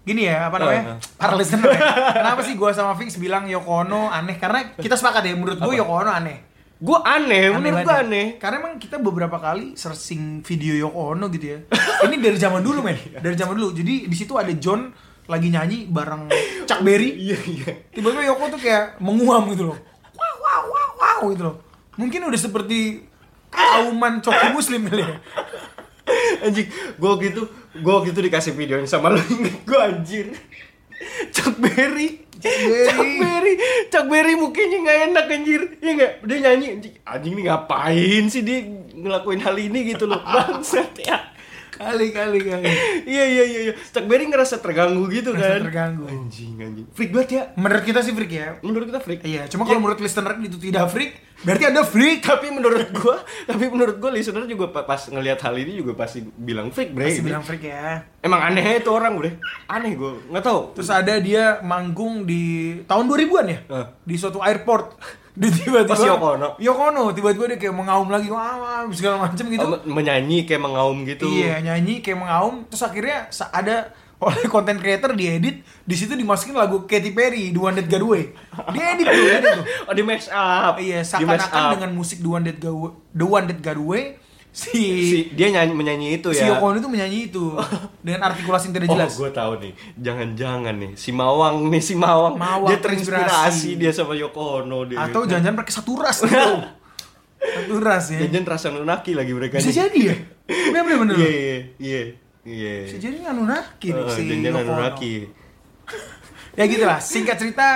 [SPEAKER 2] gini ya apa
[SPEAKER 3] Eh,
[SPEAKER 2] namanya para listener ya. kenapa sih gua sama Vince bilang Yoko Ono aneh karena kita sepakat ya menurut gua Yoko Ono aneh
[SPEAKER 3] gue aneh, Ya, menurut gue
[SPEAKER 2] banget. ya.
[SPEAKER 3] aneh
[SPEAKER 2] Karena emang kita beberapa kali searching video Yoko Ono gitu ya. Ini dari zaman dulu
[SPEAKER 3] [laughs]
[SPEAKER 2] men, dari zaman dulu. Jadi di situ ada John lagi nyanyi bareng Chuck Berry.
[SPEAKER 3] [laughs] iya iya
[SPEAKER 2] Tiba-tiba Yoko tuh kayak menguam gitu loh. Wow wow wow wow gitu loh. Mungkin udah seperti kauman coki muslim kali ya.
[SPEAKER 3] anjing gue gitu gue gitu dikasih videoin sama lo inget gue anjir Chuck Berry
[SPEAKER 2] Chuck Berry.
[SPEAKER 3] Chuck Berry Chuck Berry mukanya nggak enak anjir ya nggak dia nyanyi anjing, anjing ini ngapain sih dia ngelakuin hal ini gitu
[SPEAKER 2] [laughs]
[SPEAKER 3] loh bangsat ya
[SPEAKER 2] Kali kali kali.
[SPEAKER 3] iya iya iya iya. Chuck Berry ngerasa terganggu gitu
[SPEAKER 2] Merasa
[SPEAKER 3] kan
[SPEAKER 2] terganggu.
[SPEAKER 3] anjing anjing freak banget ya
[SPEAKER 2] Menurut kita sih freak ya.
[SPEAKER 3] menurut kita freak
[SPEAKER 2] Iya, cuma kalau menurut listener itu tidak freak, berarti Anda freak.
[SPEAKER 3] tapi menurut gua tapi menurut gua listener juga pa- pas ngelihat hal ini juga pasti bilang freak bre
[SPEAKER 2] Masih bilang freak ya.
[SPEAKER 3] emang aneh itu orang bre aneh gua nggak tahu
[SPEAKER 2] Terus ada dia manggung di tahun 2000-an ya?
[SPEAKER 3] Heeh.
[SPEAKER 2] Di suatu airport. [laughs] Dia tiba-tiba
[SPEAKER 3] Pas Yoko Ono.
[SPEAKER 2] Yoko Ono, tiba-tiba dia kayak mengaum lagi, wah, wah, segala macam gitu.
[SPEAKER 3] Oh, men- menyanyi kayak mengaum gitu.
[SPEAKER 2] Iya, nyanyi kayak mengaum. Terus akhirnya sa- ada oleh [laughs] konten creator diedit, di situ dimasukin lagu Katy Perry, The One That Got Away. Dia edit tuh, dia edit tuh.
[SPEAKER 3] [laughs] Oh, di mash up.
[SPEAKER 2] Iya,
[SPEAKER 3] Di mash
[SPEAKER 2] seakan-akan
[SPEAKER 3] up.
[SPEAKER 2] dengan musik The One That Got Away, The One That Got Away si,
[SPEAKER 3] si dia nyanyi menyanyi itu
[SPEAKER 2] si
[SPEAKER 3] ya.
[SPEAKER 2] Yoko Ono itu menyanyi itu dengan artikulasi yang tidak jelas.
[SPEAKER 3] Oh, gue tahu nih. Jangan-jangan nih si Mawang nih si Mawang.
[SPEAKER 2] Mawang
[SPEAKER 3] dia
[SPEAKER 2] terinspirasi.
[SPEAKER 3] terinspirasi dia sama Yoko Ono dia.
[SPEAKER 2] Atau jangan-jangan pakai satu ras
[SPEAKER 3] [laughs]
[SPEAKER 2] gitu. satu ras ya.
[SPEAKER 3] jangan rasa nunaki lagi mereka.
[SPEAKER 2] Bisa
[SPEAKER 3] nih.
[SPEAKER 2] jadi ya? Bener bener bener.
[SPEAKER 3] [laughs] Iya, iya, iya. Iya.
[SPEAKER 2] Bisa jadi Anunnaki nih
[SPEAKER 3] Eh,
[SPEAKER 2] si
[SPEAKER 3] Jangan-jangan
[SPEAKER 2] Yoko Ono.
[SPEAKER 3] nunaki.
[SPEAKER 2] Ya gitu lah, singkat cerita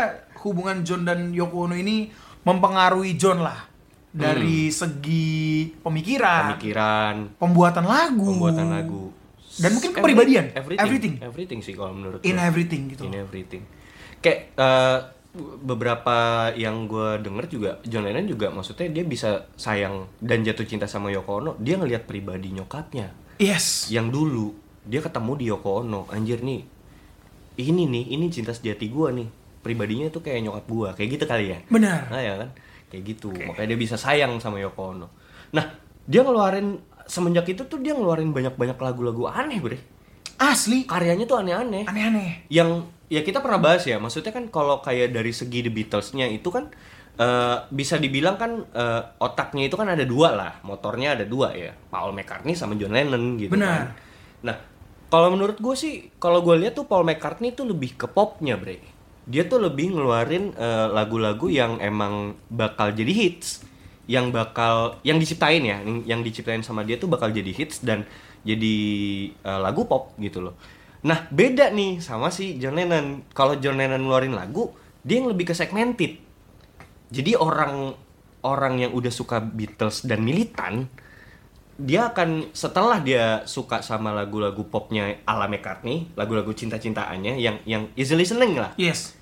[SPEAKER 2] hubungan John dan Yoko Ono ini mempengaruhi John lah. Dari
[SPEAKER 3] Hmm.
[SPEAKER 2] segi pemikiran,
[SPEAKER 3] Pemikiran,
[SPEAKER 2] pembuatan lagu.
[SPEAKER 3] pembuatan lagu.
[SPEAKER 2] Hmm.
[SPEAKER 3] Kan
[SPEAKER 2] Dan mungkin kepribadian.
[SPEAKER 3] Everything.
[SPEAKER 2] Everything.
[SPEAKER 3] Everything, sih kalau menurut
[SPEAKER 2] In
[SPEAKER 3] gua.
[SPEAKER 2] everything gitu.
[SPEAKER 3] in everything kayak eh, beberapa yang gue denger juga John Lennon juga maksudnya dia bisa sayang dan jatuh cinta sama Yoko Ono dia ngelihat pribadi nyokapnya
[SPEAKER 2] Yes.
[SPEAKER 3] yang dulu dia ketemu di Yoko Ono anjir nih ini nih ini cinta sejati gue nih pribadinya tuh kayak nyokap gue kayak gitu kali ya
[SPEAKER 2] Benar.
[SPEAKER 3] Nah ya kan, kayak gitu. Makanya dia bisa sayang sama Yoko Ono. Nah, dia ngeluarin semenjak itu tuh dia ngeluarin banyak-banyak lagu-lagu aneh, Bre.
[SPEAKER 2] Asli.
[SPEAKER 3] Karyanya tuh aneh-aneh
[SPEAKER 2] Aneh-aneh.
[SPEAKER 3] yang ya kita pernah bahas ya maksudnya kan kalau kayak dari segi The Beatles-nya itu kan eh, bisa dibilang kan eh, otaknya itu kan ada dua lah motornya ada dua ya Paul McCartney sama John Lennon gitu kan
[SPEAKER 2] Benar.
[SPEAKER 3] nah kalau menurut gue sih kalau gue lihat tuh Paul McCartney tuh lebih ke popnya bre dia tuh lebih ngeluarin eh, lagu-lagu yang emang bakal jadi hits yang bakal yang diciptain ya yang- yang diciptain sama dia tuh bakal jadi hits dan jadi eh, lagu pop gitu loh Nah, beda nih sama si John Lennon. Kalau John Lennon ngeluarin lagu, dia yang lebih ke segmented. Jadi orang orang yang udah suka Beatles dan militan, dia akan setelah dia suka sama lagu-lagu popnya ala McCartney, lagu-lagu cinta-cintaannya yang yang easy listening lah.
[SPEAKER 2] Yes.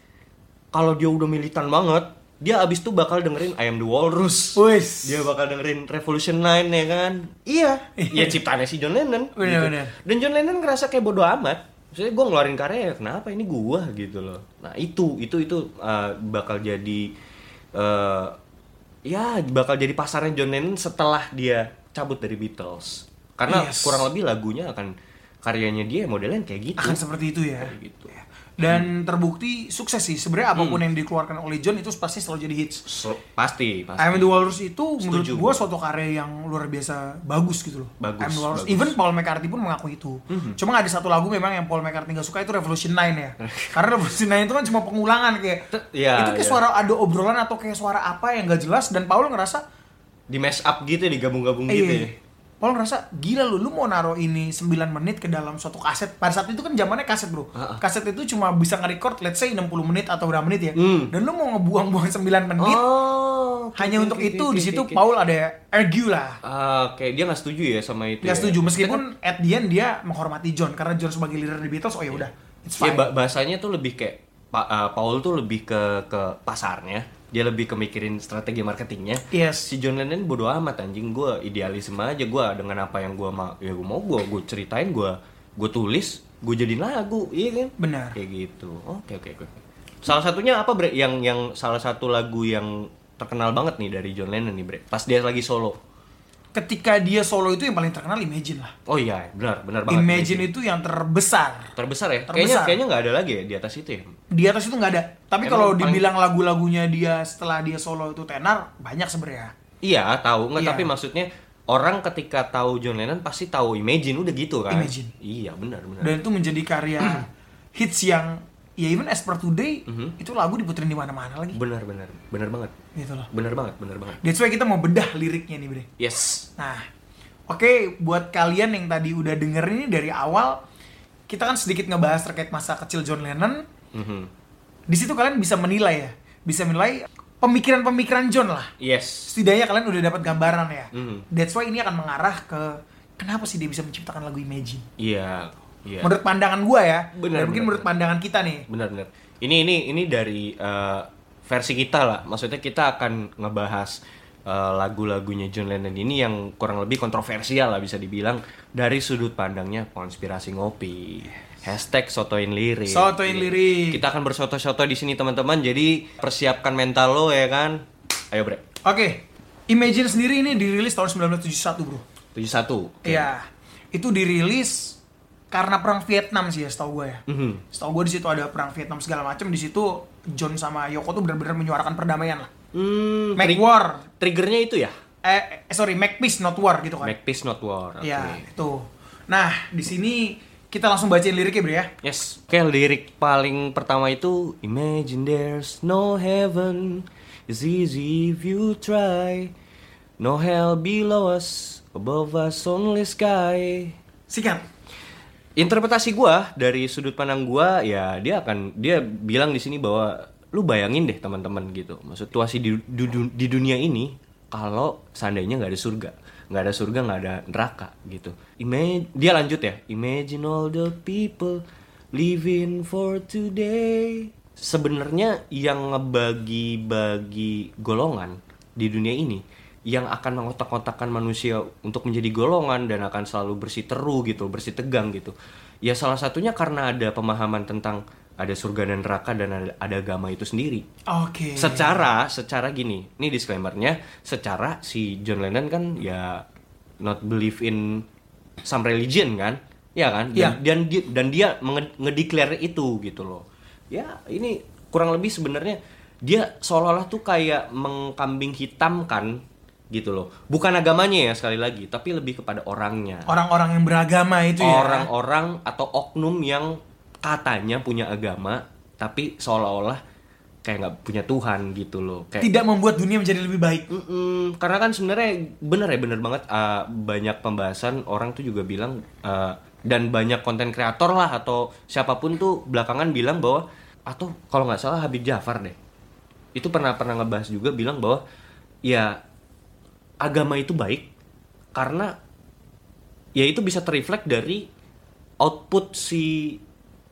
[SPEAKER 3] Kalau dia udah militan banget, dia abis itu bakal dengerin I Am The Walrus.
[SPEAKER 2] Wis.
[SPEAKER 3] Dia bakal dengerin Revolution 9 ya kan? Iya. ya ciptaannya si John Lennon.
[SPEAKER 2] Bener-bener.
[SPEAKER 3] Gitu. Dan John Lennon ngerasa kayak bodoh amat. Maksudnya gue ngeluarin karya ya kenapa ini gua gitu loh. Nah itu itu itu uh, bakal jadi uh, ya bakal jadi pasarnya John Lennon setelah dia cabut dari Beatles. Karena
[SPEAKER 2] Yes.
[SPEAKER 3] kurang lebih lagunya akan karyanya dia modelnya kayak gitu.
[SPEAKER 2] akan seperti itu ya.
[SPEAKER 3] Kayak gitu.
[SPEAKER 2] Ya. Dan terbukti sukses sih.
[SPEAKER 3] Hmm.
[SPEAKER 2] Sebenarnya apapun yang dikeluarkan oleh John itu pasti selalu jadi hits.
[SPEAKER 3] So- pasti, pasti.
[SPEAKER 2] I'm the Walrus itu menurut
[SPEAKER 3] Setuju.
[SPEAKER 2] gua suatu karya yang luar biasa bagus gitu loh.
[SPEAKER 3] Bagus,
[SPEAKER 2] I'm the Walrus.
[SPEAKER 3] bagus. Mhm.
[SPEAKER 2] Even Paul McCartney pun mengaku itu. Cuma ada satu lagu memang yang Paul McCartney gak suka itu Revolution 9
[SPEAKER 3] [laughs]
[SPEAKER 2] ya. Karena Revolution 9 itu kan cuma pengulangan kayak
[SPEAKER 3] Te- iya,
[SPEAKER 2] itu kayak
[SPEAKER 3] iya.
[SPEAKER 2] suara ada obrolan atau kayak suara apa yang gak jelas dan Paul ngerasa
[SPEAKER 3] Di mash up gitu, digabung-gabung
[SPEAKER 2] eh,
[SPEAKER 3] gitu ya.
[SPEAKER 2] Paul ngerasa gila lu, lu mau naruh ini 9 menit ke dalam suatu kaset. Pada saat itu kan zamannya kaset, Bro.
[SPEAKER 3] Ha-ha.
[SPEAKER 2] Kaset itu cuma bisa nge-record let's say 60 menit atau berapa menit ya.
[SPEAKER 3] Hmm.
[SPEAKER 2] Dan lu mau ngebuang-buang 9 menit
[SPEAKER 3] Oh, oke,
[SPEAKER 2] hanya
[SPEAKER 3] oke,
[SPEAKER 2] untuk
[SPEAKER 3] oke,
[SPEAKER 2] itu
[SPEAKER 3] oke,
[SPEAKER 2] di situ
[SPEAKER 3] oke, oke.
[SPEAKER 2] Paul ada argue lah
[SPEAKER 3] Ah, Oke, dia nggak setuju ya sama itu.
[SPEAKER 2] nggak
[SPEAKER 3] ya?
[SPEAKER 2] setuju meskipun at the end dia menghormati John karena John sebagai leader di Beatles oh ya udah it's
[SPEAKER 3] Ya,
[SPEAKER 2] fine
[SPEAKER 3] ba- bahasanya tuh lebih kayak Pa- uh, Paul tuh lebih ke ke pasarnya, dia lebih ke mikirin strategi marketingnya.
[SPEAKER 2] yes
[SPEAKER 3] Si John Lennon bodo amat anjing, gue idealisme aja gue dengan apa yang gue mau, ya gue mau gue gue ceritain gue gue tulis gue jadiin lagu, iya kan?
[SPEAKER 2] benar
[SPEAKER 3] Kayak gitu. Oke oke oke. Salah satunya apa Bre? Yang yang salah satu lagu yang terkenal banget nih dari John Lennon nih Bre. Pas dia lagi solo.
[SPEAKER 2] ketika dia solo itu yang paling terkenal Imagine lah
[SPEAKER 3] Oh iya, benar benar banget.
[SPEAKER 2] Imagine itu yang terbesar
[SPEAKER 3] terbesar ya.
[SPEAKER 2] Terbesar.
[SPEAKER 3] Kayaknya kayaknya nggak ada lagi ya di atas itu ya.
[SPEAKER 2] di atas itu nggak ada tapi
[SPEAKER 3] Emang
[SPEAKER 2] kalau
[SPEAKER 3] paling-
[SPEAKER 2] dibilang lagu-lagunya dia setelah dia solo itu tenar banyak sebenarnya
[SPEAKER 3] Iya tahu nggak?
[SPEAKER 2] Iya.
[SPEAKER 3] Tapi maksudnya orang ketika tahu John Lennon pasti tahu Imagine udah gitu kan.
[SPEAKER 2] Imagine.
[SPEAKER 3] Iya benar benar.
[SPEAKER 2] dan itu menjadi
[SPEAKER 3] [clears throat]
[SPEAKER 2] karya hits yang ya even as per today
[SPEAKER 3] Mhm.
[SPEAKER 2] itu lagu diputerin di mana-mana lagi
[SPEAKER 3] Benar benar benar banget.
[SPEAKER 2] gitu loh
[SPEAKER 3] Benar banget benar banget.
[SPEAKER 2] that's why kita mau bedah liriknya nih bre
[SPEAKER 3] Yes.
[SPEAKER 2] Nah, oke buat kalian yang tadi udah denger ini dari awal, kita kan sedikit ngebahas terkait masa kecil John Lennon.
[SPEAKER 3] Mhm.
[SPEAKER 2] Di situ kalian bisa menilai ya, bisa menilai pemikiran-pemikiran John lah.
[SPEAKER 3] Yes.
[SPEAKER 2] Setidaknya kalian udah dapat gambaran ya.
[SPEAKER 3] Mhm.
[SPEAKER 2] That's why ini akan mengarah ke kenapa sih dia bisa menciptakan lagu Imagine.
[SPEAKER 3] Iya. Iya.
[SPEAKER 2] Menurut pandangan gua ya,
[SPEAKER 3] Benar,
[SPEAKER 2] dan mungkin
[SPEAKER 3] benar,
[SPEAKER 2] menurut
[SPEAKER 3] benar.
[SPEAKER 2] pandangan kita nih.
[SPEAKER 3] benar benar ini ini ini dari eh, versi kita lah maksudnya kita akan ngebahas eh, lagu-lagunya John Lennon ini yang kurang lebih kontroversial lah bisa dibilang dari sudut pandangnya konspirasi ngopi hashtag sotoin lirik Iya.
[SPEAKER 2] Sotoin lirik.
[SPEAKER 3] kita akan bersoto-soto di sini teman-teman jadi persiapkan mental lo ya kan ayo bre
[SPEAKER 2] Oke, Imagine sendiri ini dirilis tahun 1971, Bro.
[SPEAKER 3] 71 Oke.
[SPEAKER 2] Iya. Itu dirilis karena perang Vietnam sih ya, setahu gue ya.
[SPEAKER 3] Mhm.
[SPEAKER 2] Setahu gue di situ ada perang Vietnam segala macam di situ John sama Yoko tuh benar-benar menyuarakan perdamaian lah.
[SPEAKER 3] hmm,
[SPEAKER 2] Make
[SPEAKER 3] tri-
[SPEAKER 2] war.
[SPEAKER 3] triggernya itu ya
[SPEAKER 2] Eh, eh, sorry, make peace not war gitu kan.
[SPEAKER 3] make peace not war oke.
[SPEAKER 2] Iya, itu. Nah, di sini kita langsung bacain liriknya, Bre ya.
[SPEAKER 3] Yes. Oke, lirik paling pertama itu Imagine there's no heaven. It's easy if you try. No hell below us, above us only sky.
[SPEAKER 2] Sikat.
[SPEAKER 3] Interpretasi gua dari sudut pandang gua ya dia akan dia bilang di sini bahwa lu bayangin deh teman-teman gitu. Maksud situasi di, du- du- di dunia ini kalau seandainya nggak ada surga, nggak ada surga nggak ada neraka gitu. Ima- dia lanjut ya. Imagine all the people living for today. Sebenarnya yang ngebagi-bagi golongan di dunia ini yang akan mengotak-kotakan manusia untuk menjadi golongan dan akan selalu bersiteru gitu, bersitegang gitu. Ya salah satunya karena ada pemahaman tentang ada surga dan neraka dan ada, ada agama itu sendiri.
[SPEAKER 2] Oke.
[SPEAKER 3] Secara, secara gini, ini disclaimernya, secara si John Lennon kan ya not believe in some religion kan, ya kan,
[SPEAKER 2] Iya.
[SPEAKER 3] dan, dan dia, dan dia menge- ngedeclare itu gitu loh. Ya ini kurang lebih sebenarnya dia seolah-olah tuh kayak mengkambing hitamkan gitu loh, bukan agamanya ya sekali lagi, tapi lebih kepada orangnya
[SPEAKER 2] Orang-orang yang beragama itu ya.
[SPEAKER 3] orang-orang atau oknum yang katanya punya agama tapi seolah-olah kayak nggak punya Tuhan gitu loh kayak
[SPEAKER 2] tidak membuat dunia menjadi lebih baik.
[SPEAKER 3] Mm-mm, karena kan sebenarnya bener ya bener banget uh, banyak pembahasan orang tuh juga bilang uh, dan banyak konten kreator lah atau siapapun tuh belakangan bilang bahwa atau kalau nggak salah Habib Jafar deh itu pernah pernah ngebahas juga bilang bahwa ya agama itu baik karena ya itu bisa terreflect dari output si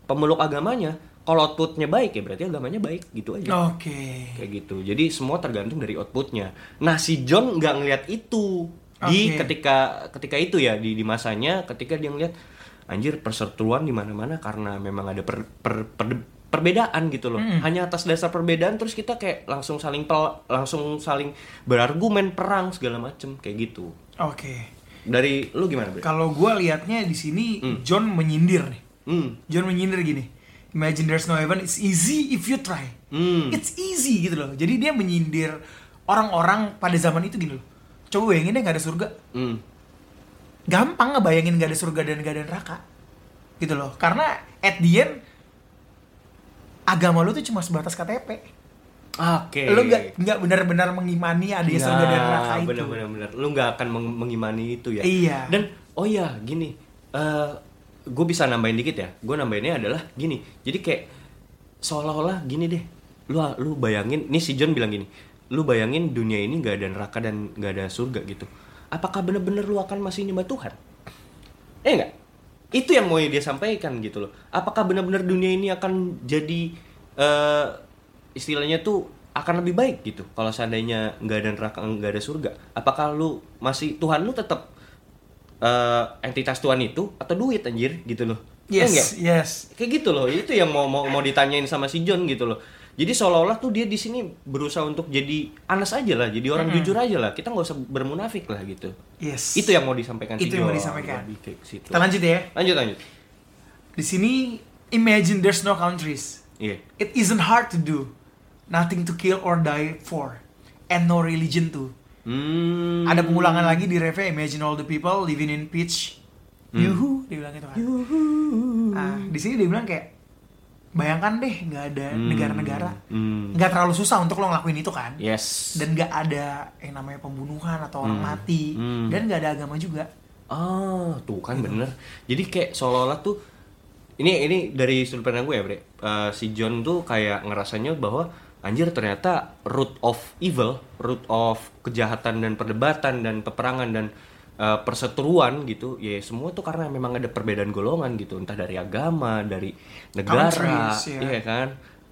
[SPEAKER 3] pemeluk agamanya kalau outputnya baik ya berarti agamanya baik gitu
[SPEAKER 2] Oh,
[SPEAKER 3] aja
[SPEAKER 2] Oke.
[SPEAKER 3] kayak gitu jadi semua tergantung dari outputnya nah si John nggak ngelihat itu di
[SPEAKER 2] Oke.
[SPEAKER 3] ketika ketika itu ya di di masanya ketika dia ngelihat anjir perseteruan di mana-mana karena memang ada per- per- per- perbedaan gitu loh hanya atas dasar perbedaan terus kita kayak langsung saling pel- langsung saling berargumen perang segala macem kayak gitu
[SPEAKER 2] Oke.
[SPEAKER 3] Dari lu gimana, Bre?
[SPEAKER 2] Kalau gue liatnya di sini John menyindir nih.
[SPEAKER 3] Hmm.
[SPEAKER 2] John menyindir gini. Imagine there's no heaven, it's easy if you try.
[SPEAKER 3] Hmm.
[SPEAKER 2] It's easy gitu loh. Jadi dia menyindir orang-orang pada zaman itu gini loh. Coba bayangin deh gak ada surga.
[SPEAKER 3] Hmm.
[SPEAKER 2] Gampang ngebayangin gak ada surga dan gak ada neraka. Gitu loh. Karena at the end, agama lu tuh cuma sebatas KTP.
[SPEAKER 3] Oke.
[SPEAKER 2] Lu gak, nggak benar-benar mengimani ada
[SPEAKER 3] Nah,
[SPEAKER 2] surga dan neraka itu.
[SPEAKER 3] Bener-bener, bener. lu nggak akan meng- mengimani itu ya.
[SPEAKER 2] Iya.
[SPEAKER 3] Dan oh ya gini, gue bisa nambahin dikit ya. Gue nambahinnya adalah gini. Jadi kayak seolah-olah gini deh. Lu lu bayangin, nih si John bilang gini. Lu bayangin dunia ini nggak ada neraka dan nggak ada surga gitu. Apakah bener-bener lu akan masih nyembah Tuhan? Eh enggak. Itu yang mau dia sampaikan gitu loh. Apakah benar-benar dunia ini akan jadi eh, istilahnya tuh akan lebih baik gitu kalau seandainya nggak ada neraka nggak ada surga apakah lu masih Tuhan lu tetap eh, entitas Tuhan itu atau duit anjir gitu loh Iya nggak?
[SPEAKER 2] Yes, yes.
[SPEAKER 3] kayak gitu loh itu yang mau mau mau ditanyain sama si John gitu loh jadi seolah-olah tuh dia di sini berusaha untuk jadi anas aja lah jadi orang jujur aja lah kita nggak usah bermunafik lah gitu
[SPEAKER 2] Yes.
[SPEAKER 3] itu yang mau disampaikan si
[SPEAKER 2] Itu yang mau
[SPEAKER 3] John.
[SPEAKER 2] disampaikan.
[SPEAKER 3] Lebih ke situ.
[SPEAKER 2] Kita lanjut ya.
[SPEAKER 3] lanjut lanjut
[SPEAKER 2] Di sini imagine there's no countries.
[SPEAKER 3] iya
[SPEAKER 2] It isn't hard to do. Nothing to kill or die for. And no religion too.
[SPEAKER 3] hmm.
[SPEAKER 2] Ada pengulangan lagi di refnya imagine all the people living in peach.
[SPEAKER 3] Hmm.
[SPEAKER 2] Yuhu, dia bilang gitu kan. Ah, di sini dia bilang kayak bayangkan deh nggak ada negara-negara.
[SPEAKER 3] Hmm.
[SPEAKER 2] Nggak terlalu susah untuk lo ngelakuin itu kan.
[SPEAKER 3] yes
[SPEAKER 2] Dan nggak ada yang namanya pembunuhan atau orang mati.
[SPEAKER 3] Hmm.
[SPEAKER 2] Dan nggak ada agama juga.
[SPEAKER 3] ah tuh kan bener jadi kayak seolah-olah tuh ini ini dari sudut pandang gue ya bre Eh, si John tuh kayak ngerasanya bahwa anjir ternyata root of evil root of kejahatan dan perdebatan dan peperangan dan eh, perseteruan gitu ya semua tuh karena memang ada perbedaan golongan gitu entah dari agama dari negara
[SPEAKER 2] Countries, ya.
[SPEAKER 3] iya ya kan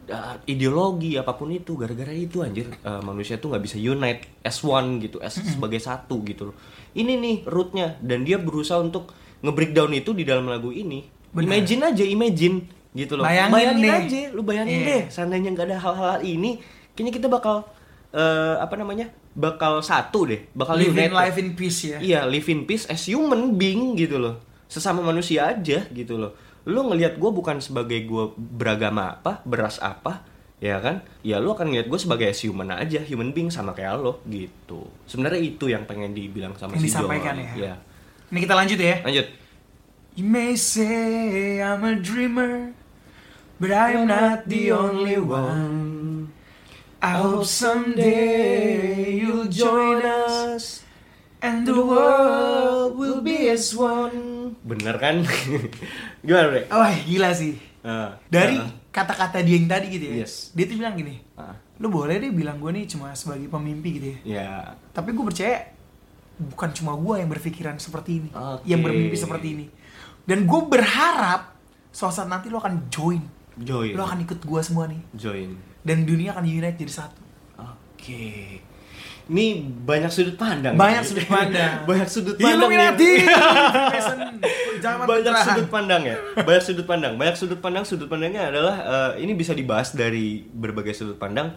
[SPEAKER 3] Uh, ideologi apapun itu gara-gara itu anjir uh, manusia tuh nggak bisa unite as one gitu as sebagai satu gitu loh ini nih rootnya dan dia berusaha untuk nge-breakdown itu di dalam lagu ini
[SPEAKER 2] Benar.
[SPEAKER 3] imagine aja imagine gitu loh
[SPEAKER 2] Bayangin deh.
[SPEAKER 3] aja lu bayangin
[SPEAKER 2] Iya.
[SPEAKER 3] deh seandainya nggak ada hal-hal ini kayaknya kita bakal eh, apa namanya bakal satu deh bakal
[SPEAKER 2] Living
[SPEAKER 3] unite
[SPEAKER 2] life in peace ya.
[SPEAKER 3] Iya, live in peace as human being gitu loh. Sesama manusia aja gitu loh. Lu ngelihat gue bukan sebagai gue beragama apa, beras apa, ya kan? Ya lu akan ngelihat gue sebagai as human aja, human being sama kayak lo gitu. Sebenarnya itu yang pengen dibilang sama
[SPEAKER 2] Yang
[SPEAKER 3] si John.
[SPEAKER 2] disampaikan ya.
[SPEAKER 3] Iya.
[SPEAKER 2] Ini kita lanjut ya.
[SPEAKER 3] Lanjut.
[SPEAKER 2] You may say I'm a dreamer, but I'm not the only one. I hope someday you'll join us, and the world will be as one.
[SPEAKER 3] Bener kan? [laughs] Gimana, Bre?
[SPEAKER 2] Wah, Oh, gila sih.
[SPEAKER 3] Eh,
[SPEAKER 2] Dari
[SPEAKER 3] eh,
[SPEAKER 2] kata-kata dia yang tadi gitu ya,
[SPEAKER 3] Yes.
[SPEAKER 2] dia tuh bilang gini,
[SPEAKER 3] Ah.
[SPEAKER 2] lu boleh deh bilang gue nih cuma sebagai pemimpi gitu ya.
[SPEAKER 3] ya.
[SPEAKER 2] Tapi gue percaya bukan cuma gue yang berpikiran seperti ini,
[SPEAKER 3] Oke.
[SPEAKER 2] yang bermimpi seperti ini. Dan gue berharap suatu saat nanti lo akan join,
[SPEAKER 3] Join.
[SPEAKER 2] lo akan ikut gue semua nih.
[SPEAKER 3] join.
[SPEAKER 2] Dan dunia akan unite jadi satu.
[SPEAKER 3] Oke. Ini banyak sudut pandang.
[SPEAKER 2] Banyak sudut pandang. Iya,
[SPEAKER 3] Kan? [laughs] banyak sudut pandang. [laughs]
[SPEAKER 2] Illuminati.
[SPEAKER 3] yang-
[SPEAKER 2] Mason, zaman
[SPEAKER 3] banyak
[SPEAKER 2] pencerahan.
[SPEAKER 3] sudut pandang ya. Banyak sudut pandang. Banyak sudut pandang. Sudut pandangnya adalah eh, ini bisa dibahas dari berbagai sudut pandang.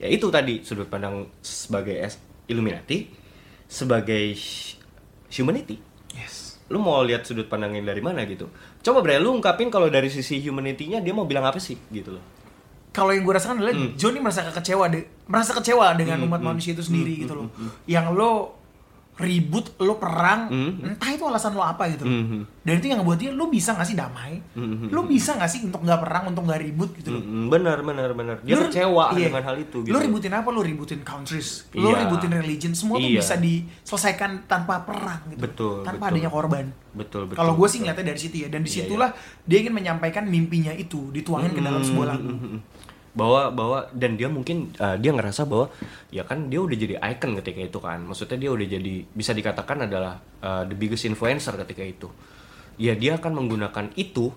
[SPEAKER 3] Ya itu tadi sudut pandang sebagai as- Illuminati, sebagai sh- humanity.
[SPEAKER 2] Yes.
[SPEAKER 3] Lu mau lihat sudut pandangnya dari mana gitu? Coba Bre, lu ungkapin kalau dari sisi humanity-nya dia mau bilang apa sih gitu loh.
[SPEAKER 2] Kalau yang gue rasakan adalah
[SPEAKER 3] Hmm.
[SPEAKER 2] Johnny merasa kecewa de- merasa kecewa dengan umat manusia itu sendiri
[SPEAKER 3] hmm,
[SPEAKER 2] gitu loh. Yang lo ribut, lo perang,
[SPEAKER 3] Hmm,
[SPEAKER 2] entah itu alasan lo apa gitu. loh.
[SPEAKER 3] Mhm.
[SPEAKER 2] Dan itu yang buat dia lo bisa gak sih damai?
[SPEAKER 3] Mhm.
[SPEAKER 2] Lo bisa gak sih untuk nggak perang, untuk nggak ribut gitu loh.
[SPEAKER 3] Mm, Benar, benar, benar. Dia
[SPEAKER 2] Lu-
[SPEAKER 3] kecewa
[SPEAKER 2] iya.
[SPEAKER 3] dengan hal itu gitu.
[SPEAKER 2] Lo ributin apa? Lo ributin countries, lo
[SPEAKER 3] Iya.
[SPEAKER 2] ributin religion, semua tuh
[SPEAKER 3] Iya.
[SPEAKER 2] bisa diselesaikan tanpa perang gitu.
[SPEAKER 3] Betul,
[SPEAKER 2] Tanpa
[SPEAKER 3] betul.
[SPEAKER 2] adanya korban.
[SPEAKER 3] Betul, betul.
[SPEAKER 2] Kalau gue sih
[SPEAKER 3] betul.
[SPEAKER 2] ngeliatnya dari situ ya, dan
[SPEAKER 3] Iya, Hmm,
[SPEAKER 2] disitulah dia ingin menyampaikan mimpinya itu dituangin ke dalam sebuah lagu.
[SPEAKER 3] Mm-mm. bahwa bahwa dan dia mungkin uh, dia ngerasa bahwa ya kan dia udah jadi icon ketika itu kan maksudnya dia udah jadi bisa dikatakan adalah uh, the biggest influencer ketika itu ya dia akan menggunakan itu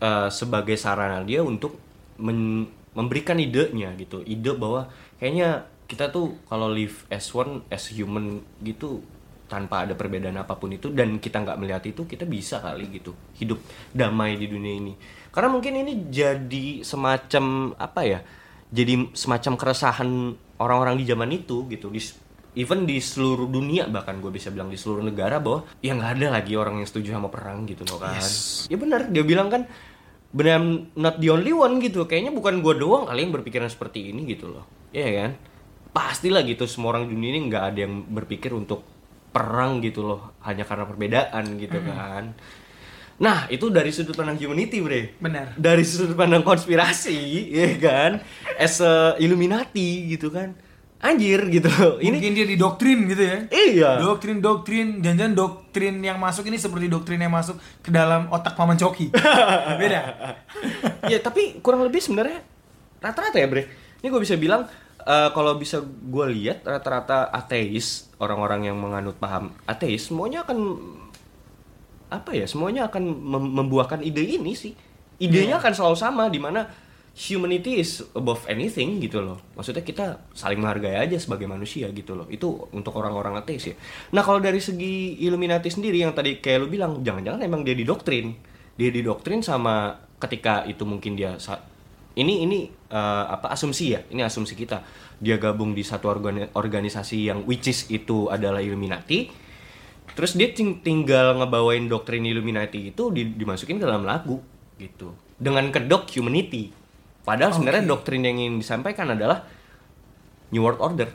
[SPEAKER 3] uh, sebagai sarana dia untuk men- memberikan idenya gitu ide bahwa kayaknya kita tuh kalau live as one as human gitu tanpa ada perbedaan apapun itu dan kita nggak melihat itu kita bisa kali gitu hidup damai di dunia ini karena mungkin ini jadi semacam apa ya jadi semacam keresahan orang-orang di zaman itu gitu di s- even di seluruh dunia bahkan gue bisa bilang di seluruh negara bahwa ya nggak ada lagi orang yang setuju sama perang gitu loh kan ya benar dia bilang kan benar not the only one gitu kayaknya bukan gue doang kali yang berpikiran seperti ini gitu loh Iya kan pastilah gitu semua orang di dunia ini nggak ada yang berpikir untuk perang gitu loh hanya karena perbedaan gitu kan nah itu dari sudut pandang humanity bre
[SPEAKER 2] Benar.
[SPEAKER 3] dari sudut pandang konspirasi ya kan as a Illuminati gitu kan anjir gitu loh. ini
[SPEAKER 2] Mungkin dia didoktrin gitu ya.
[SPEAKER 3] Iya.
[SPEAKER 2] Doktrin, doktrin, jangan doktrin yang masuk ini seperti doktrin yang masuk ke dalam otak paman
[SPEAKER 3] [laughs]
[SPEAKER 2] coki. Beda.
[SPEAKER 3] [laughs] ya tapi kurang lebih sebenarnya rata-rata ya bre ini gue bisa bilang eh, kalau bisa gue lihat rata-rata ateis orang-orang yang menganut paham ateis semuanya akan apa ya semuanya akan mem- membuahkan ide ini sih idenya akan selalu sama di mana humanity is above anything gitu loh maksudnya kita saling menghargai aja sebagai manusia gitu loh itu untuk orang-orang ateis ya nah kalau dari segi Illuminati sendiri yang tadi kayak lu bilang jangan-jangan emang dia didoktrin dia didoktrin sama ketika itu mungkin dia sa- ini ini eh, apa asumsi ya ini asumsi kita dia gabung di satu organi- organisasi yang which is itu adalah Illuminati Terus dia ting- tinggal ngebawain doktrin Illuminati itu di- dimasukin ke dalam lagu gitu. Dengan kedok humanity. Padahal sebenarnya doktrin yang ingin disampaikan adalah New World Order.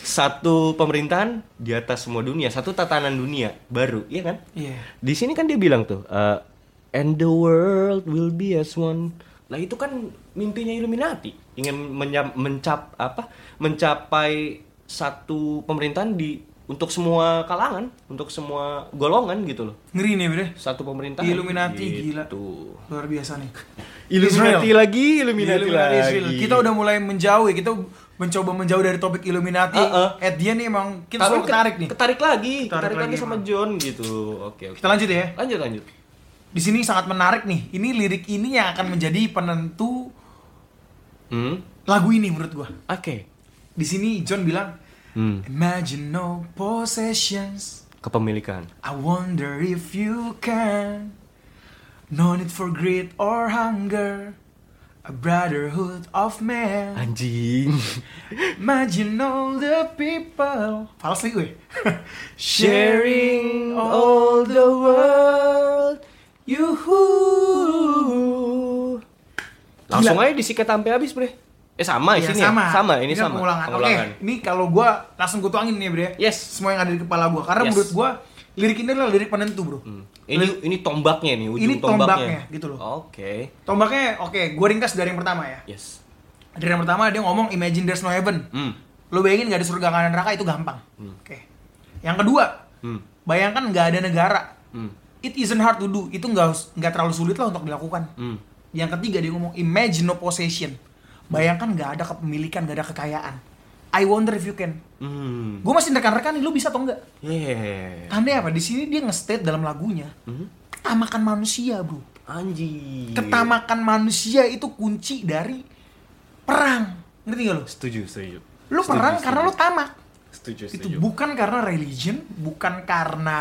[SPEAKER 3] Satu pemerintahan di atas semua dunia, satu tatanan dunia baru, iya kan?
[SPEAKER 2] Iya.
[SPEAKER 3] Di sini kan dia bilang tuh, eh, and the world will be as one. Lah itu kan mimpinya Illuminati, ingin menyam- mencap apa? Mencapai satu pemerintahan di untuk semua kalangan, untuk semua golongan gitu loh.
[SPEAKER 2] Ngeri nih bre.
[SPEAKER 3] Satu pemerintahan.
[SPEAKER 2] Illuminati gila.
[SPEAKER 3] Gitu.
[SPEAKER 2] Luar biasa nih.
[SPEAKER 3] Illuminati
[SPEAKER 2] Israel.
[SPEAKER 3] lagi, Illuminati,
[SPEAKER 2] Illuminati
[SPEAKER 3] lagi.
[SPEAKER 2] Israel. Kita udah mulai menjauh ya. Kita mencoba menjauh dari topik Illuminati.
[SPEAKER 3] Uh-uh.
[SPEAKER 2] At the end emang kita
[SPEAKER 3] Tapi
[SPEAKER 2] selalu
[SPEAKER 3] ke-
[SPEAKER 2] ketarik nih.
[SPEAKER 3] Ketarik lagi, ketarik,
[SPEAKER 2] Ketarik
[SPEAKER 3] lagi,
[SPEAKER 2] lagi
[SPEAKER 3] sama
[SPEAKER 2] emang.
[SPEAKER 3] John gitu. Oke, oke.
[SPEAKER 2] Kita lanjut ya.
[SPEAKER 3] Lanjut, lanjut.
[SPEAKER 2] Di sini sangat menarik nih. Ini lirik ini yang akan menjadi penentu
[SPEAKER 3] Hmm.
[SPEAKER 2] lagu ini menurut gua.
[SPEAKER 3] Oke.
[SPEAKER 2] Di sini John bilang,
[SPEAKER 3] Hmm.
[SPEAKER 2] Imagine no possessions.
[SPEAKER 3] Kepemilikan.
[SPEAKER 2] I wonder if you can. No need for greed or hunger. A brotherhood of man.
[SPEAKER 3] Anjing. [laughs]
[SPEAKER 2] Imagine all the people. Palsi gue. [laughs]
[SPEAKER 3] Sharing all the world. Yuhu. Langsung aja disikat sampai habis, Bre. Eh sama
[SPEAKER 2] Iya,
[SPEAKER 3] isinya. Sama, ini
[SPEAKER 2] kan
[SPEAKER 3] sama.
[SPEAKER 2] Pengulangan. Oke, ini kalau gue langsung gue tuangin nih bre.
[SPEAKER 3] Yes.
[SPEAKER 2] Semua yang ada di kepala gue. Karena
[SPEAKER 3] Yes.
[SPEAKER 2] menurut gue lirik ini adalah lirik penentu bro.
[SPEAKER 3] Hmm. Ini ini tombaknya nih, ujung
[SPEAKER 2] Ini
[SPEAKER 3] tombaknya.
[SPEAKER 2] tombaknya, gitu loh.
[SPEAKER 3] Oke.
[SPEAKER 2] Tombaknya oke, gue ringkas dari yang pertama ya.
[SPEAKER 3] Yes.
[SPEAKER 2] Dari yang pertama dia ngomong Imagine there's no heaven.
[SPEAKER 3] Hmm.
[SPEAKER 2] Lo bayangin nggak ada surga nggak ada neraka itu gampang. Oke. Yang kedua,
[SPEAKER 3] Hmm.
[SPEAKER 2] bayangkan nggak ada negara.
[SPEAKER 3] Hmm.
[SPEAKER 2] It isn't hard to do. Itu nggak us- nggak terlalu sulit lah untuk dilakukan.
[SPEAKER 3] Hmm.
[SPEAKER 2] Yang ketiga dia ngomong imagine no possession. Bayangkan nggak ada kepemilikan, nggak ada kekayaan. I wonder if you can.
[SPEAKER 3] Hmm.
[SPEAKER 2] Gue masih rekan-rekan nih, lo bisa atau nggak?
[SPEAKER 3] Yeah.
[SPEAKER 2] Aneh apa? Di sini dia nge-state dalam lagunya.
[SPEAKER 3] Mhm.
[SPEAKER 2] Ketamakan manusia, bro.
[SPEAKER 3] Iya. Anjir.
[SPEAKER 2] Ketamakan manusia itu kunci dari perang. Ngerti gak lo?
[SPEAKER 3] Setuju, setuju.
[SPEAKER 2] Lu
[SPEAKER 3] Setuju,
[SPEAKER 2] perang
[SPEAKER 3] setuju.
[SPEAKER 2] karena lu tamak.
[SPEAKER 3] Setuju,
[SPEAKER 2] itu
[SPEAKER 3] setuju.
[SPEAKER 2] bukan karena religion, bukan karena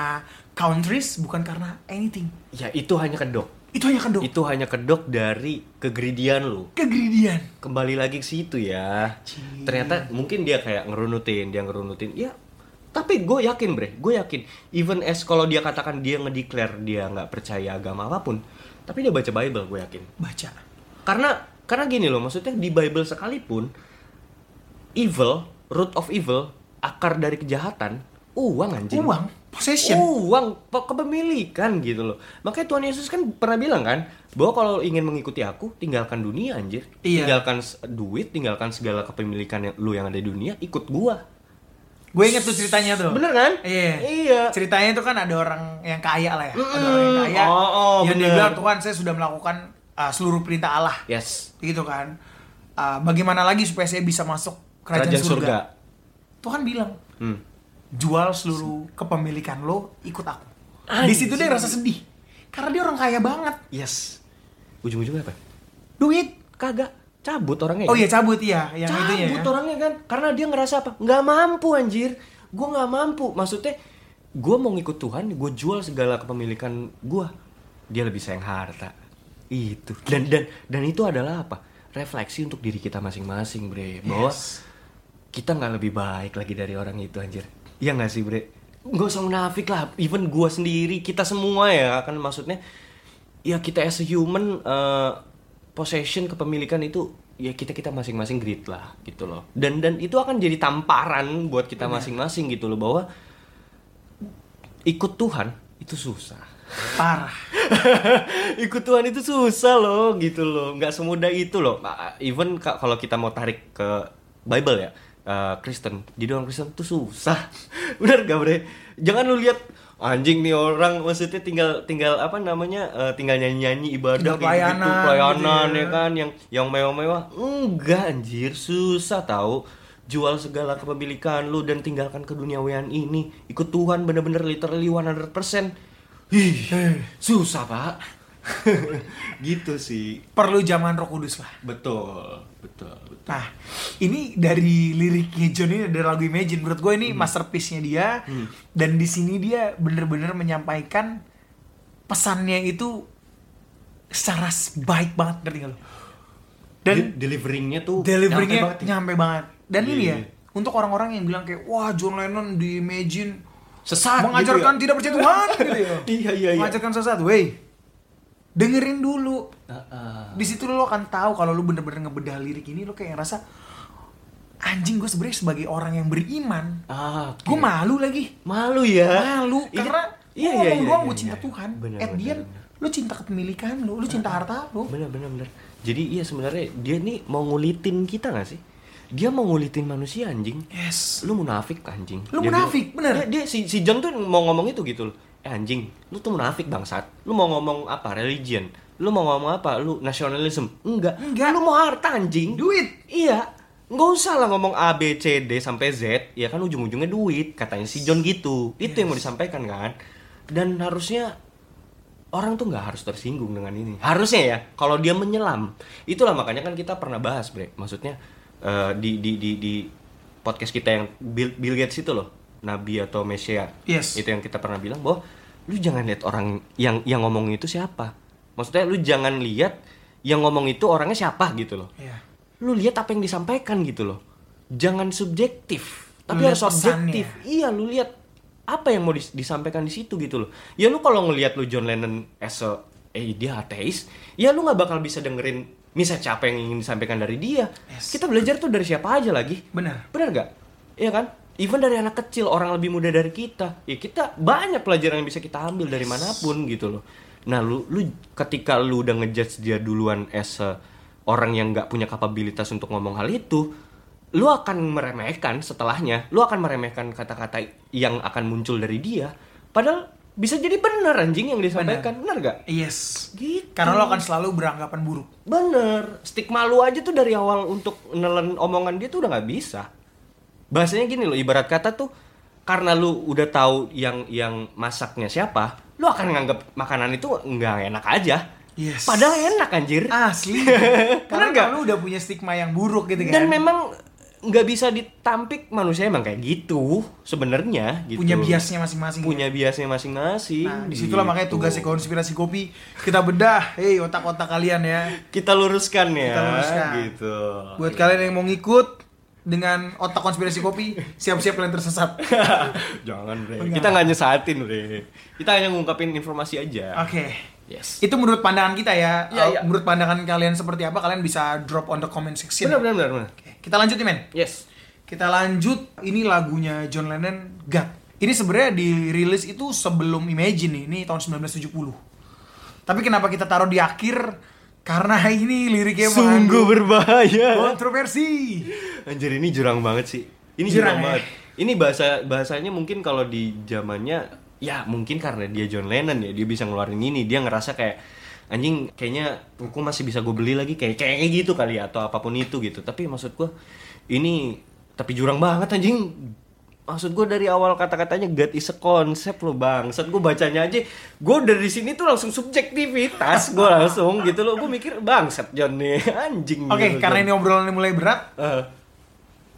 [SPEAKER 2] countries, bukan karena anything.
[SPEAKER 3] Ya itu hanya kedok.
[SPEAKER 2] Itu hanya kan, kedok.
[SPEAKER 3] Itu hanya kedok dari kegridian lu.
[SPEAKER 2] Kegridian.
[SPEAKER 3] Kembali lagi ke situ ya.
[SPEAKER 2] Cih.
[SPEAKER 3] Ternyata mungkin dia kayak ngerunutin, dia ngerunutin. Ya, tapi gue yakin bre, gue yakin. Even as kalau dia katakan dia ngedeklar dia nggak percaya agama apapun, tapi dia baca Bible gue yakin.
[SPEAKER 2] Baca.
[SPEAKER 3] Karena karena gini loh, maksudnya di Bible sekalipun evil, root of evil, akar dari kejahatan, uang anjing.
[SPEAKER 2] Uang, possession.
[SPEAKER 3] Uang, pe- kepemilikan gitu loh. Makanya Tuhan Yesus kan pernah bilang kan, bahwa kalau ingin mengikuti aku, tinggalkan dunia anjir.
[SPEAKER 2] Iya.
[SPEAKER 3] Tinggalkan s- duit, tinggalkan segala kepemilikan yang, lu yang ada di dunia, ikut gua.
[SPEAKER 2] Gue inget tuh ceritanya tuh.
[SPEAKER 3] Bener kan?
[SPEAKER 2] Iya.
[SPEAKER 3] Iya.
[SPEAKER 2] Ceritanya tuh kan ada orang yang kaya lah ya. Ada
[SPEAKER 3] Mm,
[SPEAKER 2] orang yang kaya.
[SPEAKER 3] oh, oh,
[SPEAKER 2] yang
[SPEAKER 3] bener.
[SPEAKER 2] dibilang Tuhan saya sudah melakukan uh, seluruh perintah Allah.
[SPEAKER 3] Yes.
[SPEAKER 2] Gitu kan. Uh, bagaimana lagi supaya saya bisa masuk kerajaan,
[SPEAKER 3] Kerajaan
[SPEAKER 2] surga.
[SPEAKER 3] surga.
[SPEAKER 2] Tuhan bilang,
[SPEAKER 3] Hmm.
[SPEAKER 2] jual seluruh kepemilikan lo, ikut aku. Di situ dia
[SPEAKER 3] Anjing.
[SPEAKER 2] rasa sedih. Karena dia orang kaya banget.
[SPEAKER 3] Yes. Ujung-ujungnya apa?
[SPEAKER 2] Duit.
[SPEAKER 3] Kagak. Cabut orangnya.
[SPEAKER 2] Oh iya cabut iya, yang
[SPEAKER 3] cabut
[SPEAKER 2] itunya ya.
[SPEAKER 3] orangnya kan karena dia ngerasa apa nggak mampu anjir gue nggak mampu maksudnya gue mau ngikut Tuhan gue jual segala kepemilikan gue dia lebih sayang harta itu dan dan dan itu adalah apa refleksi untuk diri kita masing-masing bre bahwa kita nggak lebih baik lagi dari orang itu anjir iya nggak sih bre nggak usah munafik lah even gua sendiri kita semua ya kan maksudnya ya kita as a human eh, possession kepemilikan itu ya kita kita masing-masing greed lah gitu loh dan dan itu akan jadi tamparan buat kita masing-masing gitu loh bahwa ikut Tuhan itu susah
[SPEAKER 2] parah
[SPEAKER 3] [laughs] ikut Tuhan itu susah loh gitu loh nggak semudah itu loh Ah, even ka- kalau kita mau tarik ke Bible ya eh, Kristen jadi orang Kristen tuh susah [laughs] bener gak bre jangan lu lihat anjing nih orang maksudnya tinggal tinggal apa namanya eh, tinggal nyanyi nyanyi ibadah
[SPEAKER 2] Tinggal
[SPEAKER 3] kayak gitu,
[SPEAKER 2] pelayanan
[SPEAKER 3] pelayanan
[SPEAKER 2] gitu ya.
[SPEAKER 3] ya kan yang yang mewah mewah enggak anjir susah tahu jual segala kepemilikan lu dan tinggalkan keduniawian ini ikut Tuhan bener-bener literally 100% Ih, susah pak [laughs] gitu sih
[SPEAKER 2] perlu zaman roh kudus lah
[SPEAKER 3] betul betul betul
[SPEAKER 2] nah ini dari liriknya John ini dari lagu Imagine menurut gue ini masterpiece-nya dia dan di sini dia bener-bener menyampaikan pesannya itu secara baik banget ngerti nggak lo dan
[SPEAKER 3] dan deliveringnya tuh
[SPEAKER 2] deliveringnya
[SPEAKER 3] nyampe
[SPEAKER 2] nyampe banget,
[SPEAKER 3] banget ya.
[SPEAKER 2] dan
[SPEAKER 3] Iya,
[SPEAKER 2] ini ya
[SPEAKER 3] iya.
[SPEAKER 2] untuk orang-orang yang bilang kayak wah John Lennon di Imagine ya?"
[SPEAKER 3] sesat
[SPEAKER 2] mengajarkan
[SPEAKER 3] gitu
[SPEAKER 2] tidak percaya Tuhan [laughs] gitu ya
[SPEAKER 3] Iya, iya, iya.
[SPEAKER 2] mengajarkan sesat wey dengerin dulu
[SPEAKER 3] ya. Heeh.
[SPEAKER 2] di situ lo akan tahu kalau lo bener-bener ngebedah lirik ini lo kayak ngerasa anjing gue sebenarnya sebagai orang yang beriman
[SPEAKER 3] ah
[SPEAKER 2] gue malu lagi
[SPEAKER 3] malu ya
[SPEAKER 2] malu
[SPEAKER 3] Iya,
[SPEAKER 2] karena
[SPEAKER 3] iya
[SPEAKER 2] gue
[SPEAKER 3] iya
[SPEAKER 2] ngomong doang
[SPEAKER 3] iya iya,
[SPEAKER 2] gue cinta
[SPEAKER 3] iya.
[SPEAKER 2] Tuhan
[SPEAKER 3] Bener,
[SPEAKER 2] at
[SPEAKER 3] bener,
[SPEAKER 2] the end
[SPEAKER 3] bener.
[SPEAKER 2] lo cinta kepemilikan lo lo cinta harta lo
[SPEAKER 3] benar benar benar jadi iya sebenarnya dia nih mau ngulitin kita nggak sih dia mau ngulitin manusia anjing
[SPEAKER 2] yes
[SPEAKER 3] lu munafik anjing
[SPEAKER 2] Lu
[SPEAKER 3] Dia Iya,
[SPEAKER 2] munafik, bener.
[SPEAKER 3] dia, dia- si, si John tuh mau ngomong itu gitu loh eh anjing lu tuh munafik bangsat lu mau ngomong apa religion lu mau ngomong apa lu nasionalisme enggak
[SPEAKER 2] Enggak.
[SPEAKER 3] lu mau harta anjing
[SPEAKER 2] Duit.
[SPEAKER 3] iya nggak usah lah ngomong A B C D sampai Z ya kan ujung-ujungnya duit katanya si John gitu itu yang mau disampaikan kan dan harusnya orang tuh nggak harus tersinggung dengan ini harusnya ya kalau dia menyelam itulah makanya kan kita pernah bahas bre maksudnya eh, di, di di di podcast kita yang Bill, Bill Gates itu loh Nabi atau Mesia
[SPEAKER 2] Yes.
[SPEAKER 3] itu yang kita pernah bilang bahwa lu jangan lihat orang yang yang ngomong itu siapa maksudnya lu jangan lihat yang ngomong itu orangnya siapa gitu loh
[SPEAKER 2] Iya.
[SPEAKER 3] lu lihat apa yang disampaikan gitu loh jangan subjektif tapi
[SPEAKER 2] Lu lihat
[SPEAKER 3] harus objektif
[SPEAKER 2] pesannya.
[SPEAKER 3] iya lu lihat apa yang mau dis- disampaikan di situ gitu loh ya lu kalau ngelihat lu John Lennon as a eh dia ateis ya lu nggak bakal bisa dengerin misa apa yang ingin disampaikan dari dia
[SPEAKER 2] Yes.
[SPEAKER 3] kita belajar tuh dari siapa aja lagi
[SPEAKER 2] Benar.
[SPEAKER 3] benar nggak iya kan even dari anak kecil orang lebih muda dari kita ya kita banyak pelajaran yang bisa kita ambil dari manapun gitu loh nah lu lu ketika lu udah ngejudge dia duluan as a orang yang nggak punya kapabilitas untuk ngomong hal itu lu akan meremehkan setelahnya lu akan meremehkan kata-kata yang akan muncul dari dia padahal bisa jadi benar anjing yang disampaikan benar nggak
[SPEAKER 2] yes
[SPEAKER 3] Gitu.
[SPEAKER 2] karena lo akan selalu beranggapan buruk
[SPEAKER 3] Bener, stigma lu aja tuh dari awal untuk nelen omongan dia tuh udah nggak bisa. Bahasanya gini loh, ibarat kata tuh karena lu udah tahu yang yang masaknya siapa, lu akan nganggap makanan itu nggak enak aja.
[SPEAKER 2] Yes.
[SPEAKER 3] Padahal enak anjir.
[SPEAKER 2] asli
[SPEAKER 3] Bener
[SPEAKER 2] [laughs] karena
[SPEAKER 3] nggak?
[SPEAKER 2] lo udah punya stigma yang buruk gitu kan
[SPEAKER 3] Dan memang nggak bisa ditampik manusia emang kayak gitu sebenarnya gitu.
[SPEAKER 2] punya biasnya masing-masing
[SPEAKER 3] punya biasnya masing-masing.
[SPEAKER 2] Nah, disitulah
[SPEAKER 3] gitu.
[SPEAKER 2] makanya tugasnya konspirasi kopi kita bedah, hei otak-otak kalian ya.
[SPEAKER 3] kita luruskan ya
[SPEAKER 2] Kita luruskan.
[SPEAKER 3] gitu.
[SPEAKER 2] Buat kalian yang mau ngikut dengan otak konspirasi kopi, siap-siap kalian
[SPEAKER 3] [laughs]
[SPEAKER 2] tersesat. Oke,
[SPEAKER 3] Jangan, Bre.
[SPEAKER 2] Enggak.
[SPEAKER 3] Kita nggak nyesatin, Bre. Kita hanya ngungkapin informasi aja. Yes.
[SPEAKER 2] itu menurut pandangan kita ya.
[SPEAKER 3] Iya,
[SPEAKER 2] Uh,
[SPEAKER 3] iya.
[SPEAKER 2] Menurut pandangan kalian seperti apa, kalian bisa drop on the comment section.
[SPEAKER 3] Benar, benar, benar, benar.
[SPEAKER 2] Oke, kita lanjut nih men.
[SPEAKER 3] Yes.
[SPEAKER 2] Kita lanjut. Ini lagunya John Lennon, God. Ini sebenarnya dirilis itu sebelum Imagine nih, ini tahun 1970. Tapi kenapa kita taruh di akhir? Karena [laughs] ini liriknya
[SPEAKER 3] Sungguh
[SPEAKER 2] mengandung
[SPEAKER 3] berbahaya.
[SPEAKER 2] kontroversi.
[SPEAKER 3] Anjir ini jurang banget sih. Ini
[SPEAKER 2] Jurang,
[SPEAKER 3] jurang,
[SPEAKER 2] ya?
[SPEAKER 3] banget. Ini bahasa bahasanya mungkin kalau di zamannya ya mungkin karena dia John Lennon ya dia bisa ngeluarin ini dia ngerasa kayak anjing kayaknya aku masih bisa gue beli lagi kayak kayaknya gitu kali ya, atau apapun itu gitu tapi maksud gue ini tapi jurang banget anjing maksud gue dari awal kata-katanya God is a concept lo bang saat gue bacanya aja gue dari sini tuh langsung subjektivitas gue langsung gitu loh gue mikir bangsat John nih anjing Gitu,
[SPEAKER 2] Oke, karena ini obrolannya mulai berat,
[SPEAKER 3] Eh.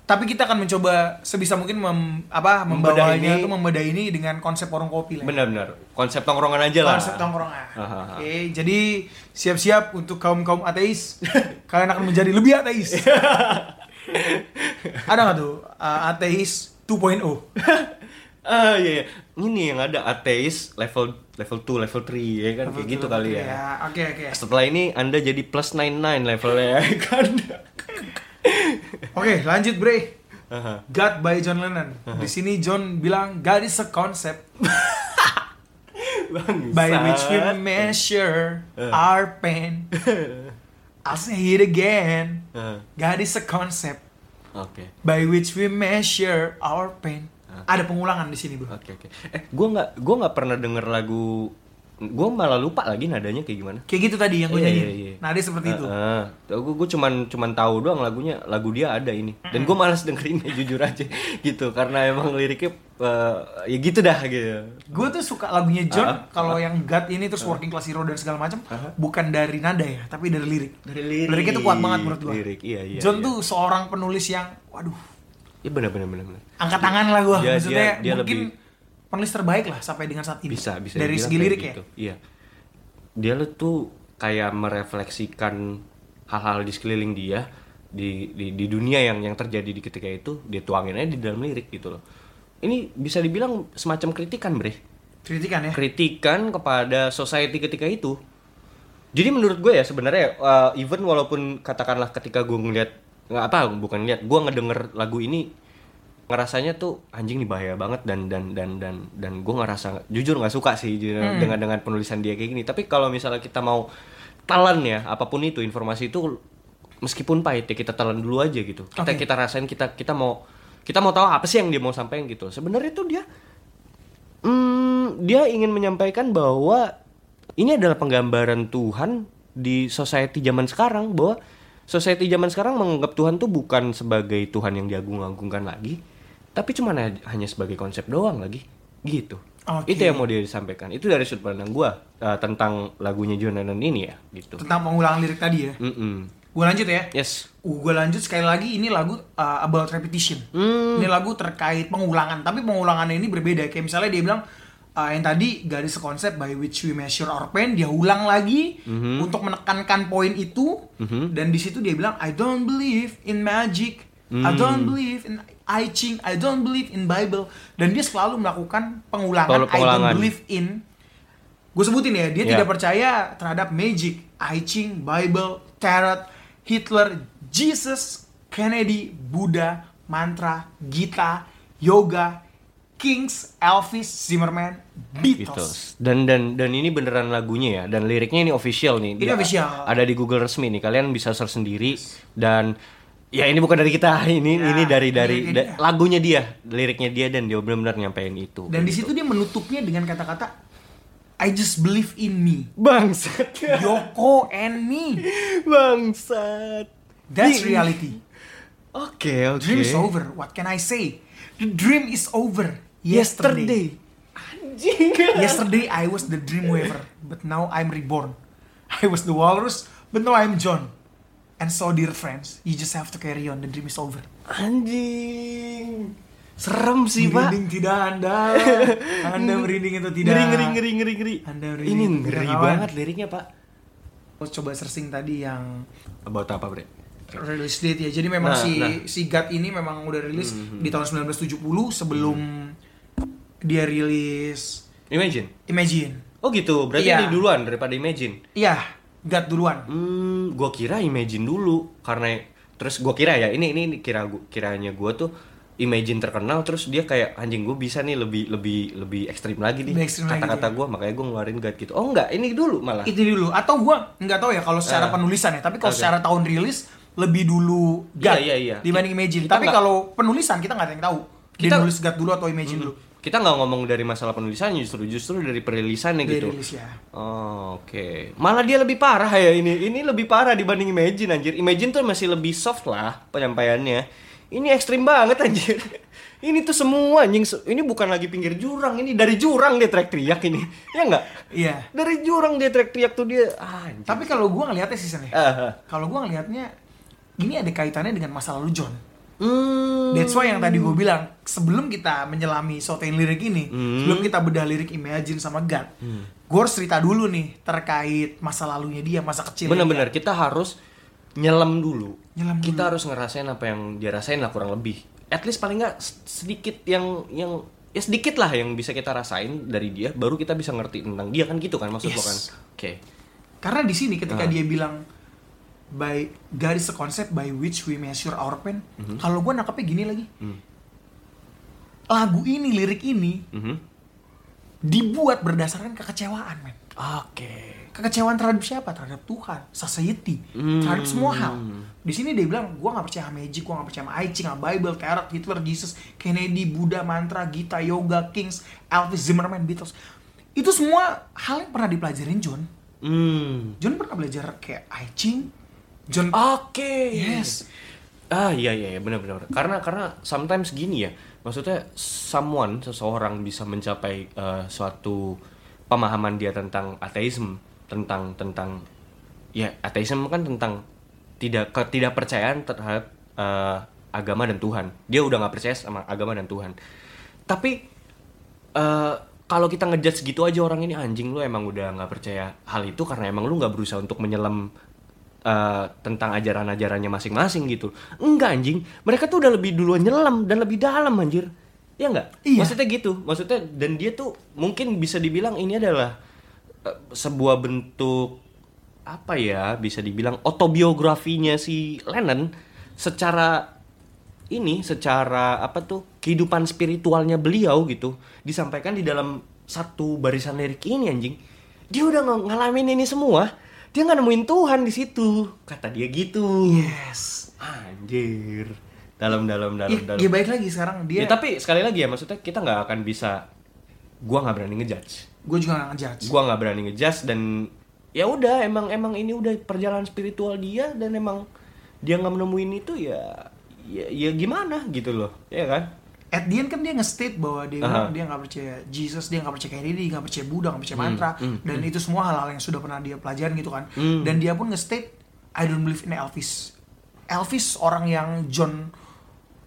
[SPEAKER 2] tapi kita akan mencoba sebisa mungkin mem- apa
[SPEAKER 3] Membedah
[SPEAKER 2] membawanya
[SPEAKER 3] ini.
[SPEAKER 2] itu membedah ini dengan konsep warung kopi lah. ya.
[SPEAKER 3] Benar-benar. Konsep tongkrongan aja lah.
[SPEAKER 2] Konsep
[SPEAKER 3] [laughs]
[SPEAKER 2] tongkrongan.
[SPEAKER 3] Aha.
[SPEAKER 2] Oke, jadi [laughs]
[SPEAKER 3] [laughs]
[SPEAKER 2] siap-siap untuk kaum kaum ateis, kalian akan menjadi lebih ateis. Ada nggak tuh uh, ateis oh? 2.0?
[SPEAKER 3] Ah iya, iya. ini yang ada ateis level level 2, level 3 ya kan kayak gitu kali ya.
[SPEAKER 2] Oke oke.
[SPEAKER 3] Setelah ini Anda jadi plus 99 levelnya
[SPEAKER 2] [laughs]
[SPEAKER 3] ya kan.
[SPEAKER 2] Oke lanjut Bre.
[SPEAKER 3] Aha.
[SPEAKER 2] God by John Lennon. Di sini John bilang God is a concept
[SPEAKER 3] Bangsat.
[SPEAKER 2] by which we measure
[SPEAKER 3] Uh.
[SPEAKER 2] our
[SPEAKER 3] [laughs]
[SPEAKER 2] pain. I'll say it again.
[SPEAKER 3] Ah,
[SPEAKER 2] God is a concept
[SPEAKER 3] Oke.
[SPEAKER 2] by which we measure our pain.
[SPEAKER 3] Uh.
[SPEAKER 2] Ada pengulangan di sini bro.
[SPEAKER 3] Oke oke. Eh, gua nggak gua nggak pernah denger lagu gua malah lupa lagi nadanya kayak gimana.
[SPEAKER 2] Kayak gitu tadi yang gue
[SPEAKER 3] Iya,
[SPEAKER 2] nyanyi.
[SPEAKER 3] iya, iya.
[SPEAKER 2] Nadi seperti itu.
[SPEAKER 3] Heeh. Gue gue cuman cuman tahu doang lagunya, lagu dia ada ini. Dan gue malas dengerinnya [laughs] jujur aja gitu karena emang liriknya eh, ya gitu dah gitu.
[SPEAKER 2] Gue tuh suka lagunya John
[SPEAKER 3] Ah,
[SPEAKER 2] kalau yang God ini terus
[SPEAKER 3] Uh.
[SPEAKER 2] Working Class Hero dan segala macam bukan dari nada ya, tapi dari lirik.
[SPEAKER 3] Uh-huh. Dari lirik.
[SPEAKER 2] Liriknya tuh kuat banget menurut gue.
[SPEAKER 3] Lirik, iya, iya,
[SPEAKER 2] John
[SPEAKER 3] iya.
[SPEAKER 2] tuh seorang penulis yang waduh,
[SPEAKER 3] Ya benar benar benar benar.
[SPEAKER 2] angkat tangan lah gue.
[SPEAKER 3] Dia- dia-
[SPEAKER 2] Maksudnya
[SPEAKER 3] dia
[SPEAKER 2] mungkin
[SPEAKER 3] lebih-
[SPEAKER 2] penulis terbaik lah sampai dengan saat ini.
[SPEAKER 3] Bisa bisa
[SPEAKER 2] Dari
[SPEAKER 3] dibilang
[SPEAKER 2] segi
[SPEAKER 3] kayak
[SPEAKER 2] lirik ya.
[SPEAKER 3] gitu. Iya. Dia lu tuh kayak merefleksikan hal-hal di sekeliling dia di, di di dunia yang yang terjadi di ketika itu dia tuangin aja di dalam lirik gitu loh. Ini bisa dibilang semacam kritikan, Bre.
[SPEAKER 2] Kritikan ya.
[SPEAKER 3] kritikan kepada society ketika itu. Jadi menurut gue ya sebenarnya uh, even walaupun katakanlah ketika gue ngeliat nggak apa bukan ngeliat gue ngedenger lagu ini ngerasanya tuh anjing nih bahaya banget dan dan dan dan dan gue ngerasa jujur nggak suka sih jujur,
[SPEAKER 2] Hmm.
[SPEAKER 3] dengan dengan penulisan dia kayak gini tapi kalau misalnya kita mau telan ya apapun itu informasi itu meskipun pahit ya kita telan dulu aja gitu kita
[SPEAKER 2] Oke.
[SPEAKER 3] kita rasain kita kita mau kita mau tahu apa sih yang dia mau sampaikan gitu sebenarnya tuh dia Hmm, dia ingin menyampaikan bahwa ini adalah penggambaran Tuhan di society zaman sekarang bahwa society zaman sekarang menganggap Tuhan tuh bukan sebagai Tuhan yang diagung-agungkan lagi, tapi cuma hanya sebagai konsep doang lagi, gitu.
[SPEAKER 2] Oke.
[SPEAKER 3] Itu yang mau dia sampaikan. Itu dari sudut pandang gua eh, tentang lagunya John Lennon ini ya, gitu.
[SPEAKER 2] Tentang pengulangan lirik tadi ya.
[SPEAKER 3] Mm-mm.
[SPEAKER 2] Gue lanjut ya.
[SPEAKER 3] Yes.
[SPEAKER 2] Uh, gue lanjut sekali lagi ini lagu uh, about repetition.
[SPEAKER 3] Hmm.
[SPEAKER 2] Ini lagu terkait pengulangan, tapi pengulangannya ini berbeda. Kayak misalnya dia bilang uh, yang tadi garis konsep by which we measure our pain, dia ulang lagi
[SPEAKER 3] Mhm.
[SPEAKER 2] untuk menekankan poin itu. Dan di situ dia bilang I don't believe in magic,
[SPEAKER 3] Hmm.
[SPEAKER 2] I don't believe in I Ching, I don't believe in Bible. Dan dia selalu melakukan pengulangan,
[SPEAKER 3] Selalu
[SPEAKER 2] I
[SPEAKER 3] pengulangan.
[SPEAKER 2] don't believe in. Gue sebutin ya, dia
[SPEAKER 3] Ya.
[SPEAKER 2] tidak percaya terhadap magic, I Ching, Bible, Tarot, Hitler, Jesus, Kennedy, Buddha, mantra, Gita, yoga, Kings, Elvis, Zimmerman, Beatles.
[SPEAKER 3] Beatles. Dan dan dan ini beneran lagunya ya dan liriknya ini official nih.
[SPEAKER 2] Ini
[SPEAKER 3] Dia-
[SPEAKER 2] official.
[SPEAKER 3] Ada di Google resmi nih. Kalian bisa search sendiri dan ya ini bukan dari kita. [laughs] Ini
[SPEAKER 2] Ya,
[SPEAKER 3] ini dari dari
[SPEAKER 2] liriknya
[SPEAKER 3] da-
[SPEAKER 2] dia.
[SPEAKER 3] lagunya dia, liriknya dia dan dia benar-benar nyampein itu.
[SPEAKER 2] Dan di situ dia menutupnya dengan kata-kata I just believe in me,
[SPEAKER 3] bangsat. [laughs]
[SPEAKER 2] Yoko and me.
[SPEAKER 3] bangsat.
[SPEAKER 2] That's [laughs]
[SPEAKER 3] Di-
[SPEAKER 2] reality.
[SPEAKER 3] Oke, oke.
[SPEAKER 2] Dream is over. What can I say? The dream is over. Yesterday.
[SPEAKER 3] Yesterday. Anjing.
[SPEAKER 2] Yesterday I was the dreamweaver, but now I'm reborn. I was the walrus, but now I'm John. And so dear friends, you just have to carry on. The dream is over.
[SPEAKER 3] Anjing. Serem sih, Pak.
[SPEAKER 2] Merinding tidak [laughs] Anda? Anda merinding itu tidak?
[SPEAKER 3] Ngeri ngeri ngeri ngeri ngeri.
[SPEAKER 2] Anda merinding
[SPEAKER 3] Ini
[SPEAKER 2] atau tidak,
[SPEAKER 3] ngeri
[SPEAKER 2] kawan?
[SPEAKER 3] banget liriknya, Pak.
[SPEAKER 2] Aku coba searching tadi yang
[SPEAKER 3] About apa, Bre?
[SPEAKER 2] release date ya. Jadi memang
[SPEAKER 3] Nah,
[SPEAKER 2] si
[SPEAKER 3] nah.
[SPEAKER 2] si God ini memang udah rilis di tahun 1970 sebelum dia rilis
[SPEAKER 3] Imagine.
[SPEAKER 2] Imagine.
[SPEAKER 3] Oh gitu, berarti
[SPEAKER 2] Iya.
[SPEAKER 3] ini duluan daripada Imagine.
[SPEAKER 2] Iya, God duluan.
[SPEAKER 3] Hmm, gua kira Imagine dulu karena terus gua kira ya ini ini ini kira gua- kiranya gua tuh Imagine terkenal terus dia kayak anjing gua bisa nih lebih lebih lebih ekstrim lagi nih
[SPEAKER 2] Lebih ekstrim lagi
[SPEAKER 3] kata-kata
[SPEAKER 2] dia.
[SPEAKER 3] gua makanya gua ngeluarin God gitu. Oh enggak, ini dulu malah.
[SPEAKER 2] itu dulu atau gua nggak tahu ya kalau secara
[SPEAKER 3] Ah.
[SPEAKER 2] penulisan ya tapi kalau
[SPEAKER 3] Oke.
[SPEAKER 2] secara tahun rilis lebih dulu
[SPEAKER 3] Iya,
[SPEAKER 2] God
[SPEAKER 3] iya, iya.
[SPEAKER 2] dibanding Imagine
[SPEAKER 3] Kita
[SPEAKER 2] tapi
[SPEAKER 3] nggak-
[SPEAKER 2] kalau penulisan kita nggak ada yang tahu kita
[SPEAKER 3] Kita- Hmm,
[SPEAKER 2] nulis God dulu atau Imagine dulu
[SPEAKER 3] Kita nggak ngomong dari masalah penulisannya justru justru dari perilisannya
[SPEAKER 2] Dia
[SPEAKER 3] gitu.
[SPEAKER 2] rilis ya
[SPEAKER 3] Oh, oke. Malah dia lebih parah ya ini. Ini lebih parah dibanding Imagine anjir. Imagine tuh masih lebih soft lah penyampaiannya. Ini ekstrim banget anjir. [laughs] Ini tuh semua anjing. Se- Ini bukan lagi pinggir jurang, ini dari jurang dia teriak-teriak ini. Ya enggak?
[SPEAKER 2] iya
[SPEAKER 3] Dari jurang dia teriak-teriak tuh dia ah, anjir.
[SPEAKER 2] tapi kalau gua ngelihatnya sih Sen, ya.
[SPEAKER 3] Ah, ah.
[SPEAKER 2] kalau gua ngelihatnya ini ada kaitannya dengan masa lalu John
[SPEAKER 3] Hmm.
[SPEAKER 2] That's why yang tadi gue bilang sebelum kita menyelami sotein lirik ini,
[SPEAKER 3] Hmm.
[SPEAKER 2] sebelum kita bedah lirik Imagine sama God, gue harus cerita dulu nih terkait masa lalunya dia, masa kecilnya. dia.
[SPEAKER 3] Benar-benar kita harus nyelam dulu.
[SPEAKER 2] Iya, Nyelam
[SPEAKER 3] kita harus ngerasain apa yang dia rasain lah kurang lebih. At least paling nggak s- sedikit yang yang ya sedikit lah yang bisa kita rasain dari dia, baru kita bisa ngerti tentang dia kan gitu kan maksud lo
[SPEAKER 2] Yes.
[SPEAKER 3] kan? Oke.
[SPEAKER 2] Karena di sini ketika
[SPEAKER 3] Ah.
[SPEAKER 2] dia bilang by garis the concept by which we measure our pain,
[SPEAKER 3] Mhm.
[SPEAKER 2] kalau gue nangkepnya gini lagi.
[SPEAKER 3] Hmm.
[SPEAKER 2] Lagu ini, lirik ini
[SPEAKER 3] Mhm.
[SPEAKER 2] dibuat berdasarkan kekecewaan, men.
[SPEAKER 3] Oke.
[SPEAKER 2] Kekecewaan terhadap siapa? Terhadap Tuhan, society,
[SPEAKER 3] Hmm.
[SPEAKER 2] terhadap semua hal. Di sini dia bilang, gue nggak percaya sama magic, gue nggak percaya sama I Ching, sama Bible, Tarot, Hitler, Jesus, Kennedy, Buddha, Mantra, Gita, Yoga, Kings, Elvis, Zimmerman, Beatles. Itu semua hal yang pernah dipelajarin John.
[SPEAKER 3] Hmm.
[SPEAKER 2] John pernah belajar kayak I Ching. John
[SPEAKER 3] Ah, Oke.
[SPEAKER 2] Yes.
[SPEAKER 3] Ah iya iya iya, benar benar. benar. Karena karena sometimes gini ya. Maksudnya someone seseorang bisa mencapai eh, suatu pemahaman dia tentang ateisme, tentang tentang ya ateisme kan tentang tidak ketidakpercayaan terhadap eh, agama dan Tuhan. Dia udah nggak percaya sama agama dan Tuhan. Tapi eh, kalau kita ngejudge gitu aja orang ini anjing lu emang udah nggak percaya hal itu karena emang lu nggak berusaha untuk menyelam eh, tentang ajaran-ajarannya masing-masing gitu. Enggak anjing, mereka tuh udah lebih duluan nyelam dan lebih dalam anjir. Ya enggak?
[SPEAKER 2] Iya.
[SPEAKER 3] Maksudnya gitu. Maksudnya dan dia tuh mungkin bisa dibilang ini adalah eh, sebuah bentuk apa ya bisa dibilang autobiografinya si Lennon secara ini secara apa tuh kehidupan spiritualnya beliau gitu disampaikan di dalam satu barisan lirik ini anjing dia udah ng- ngalamin ini semua dia nggak nemuin Tuhan di situ kata dia gitu
[SPEAKER 2] Yes.
[SPEAKER 3] anjir dalam dalam dalam
[SPEAKER 2] Ya,
[SPEAKER 3] dalam
[SPEAKER 2] ya baik lagi sekarang dia.
[SPEAKER 3] Ya, tapi sekali lagi ya maksudnya kita nggak akan bisa gua nggak berani ngejudge
[SPEAKER 2] gue juga gak ngejudge.
[SPEAKER 3] gua nggak berani ngejudge dan ya udah emang emang ini udah perjalanan spiritual dia dan emang dia nggak menemuin itu ya ya, ya gimana gitu loh ya kan
[SPEAKER 2] At the end kan dia nge-state bahwa dia
[SPEAKER 3] Aha.
[SPEAKER 2] dia nggak percaya Jesus, dia nggak percaya Kennedy, nggak percaya Buddha, nggak percaya mantra, dan itu semua hal-hal yang sudah pernah dia pelajarin gitu kan.
[SPEAKER 3] Hmm.
[SPEAKER 2] Dan dia pun nge-state I don't believe in Elvis. Elvis orang yang John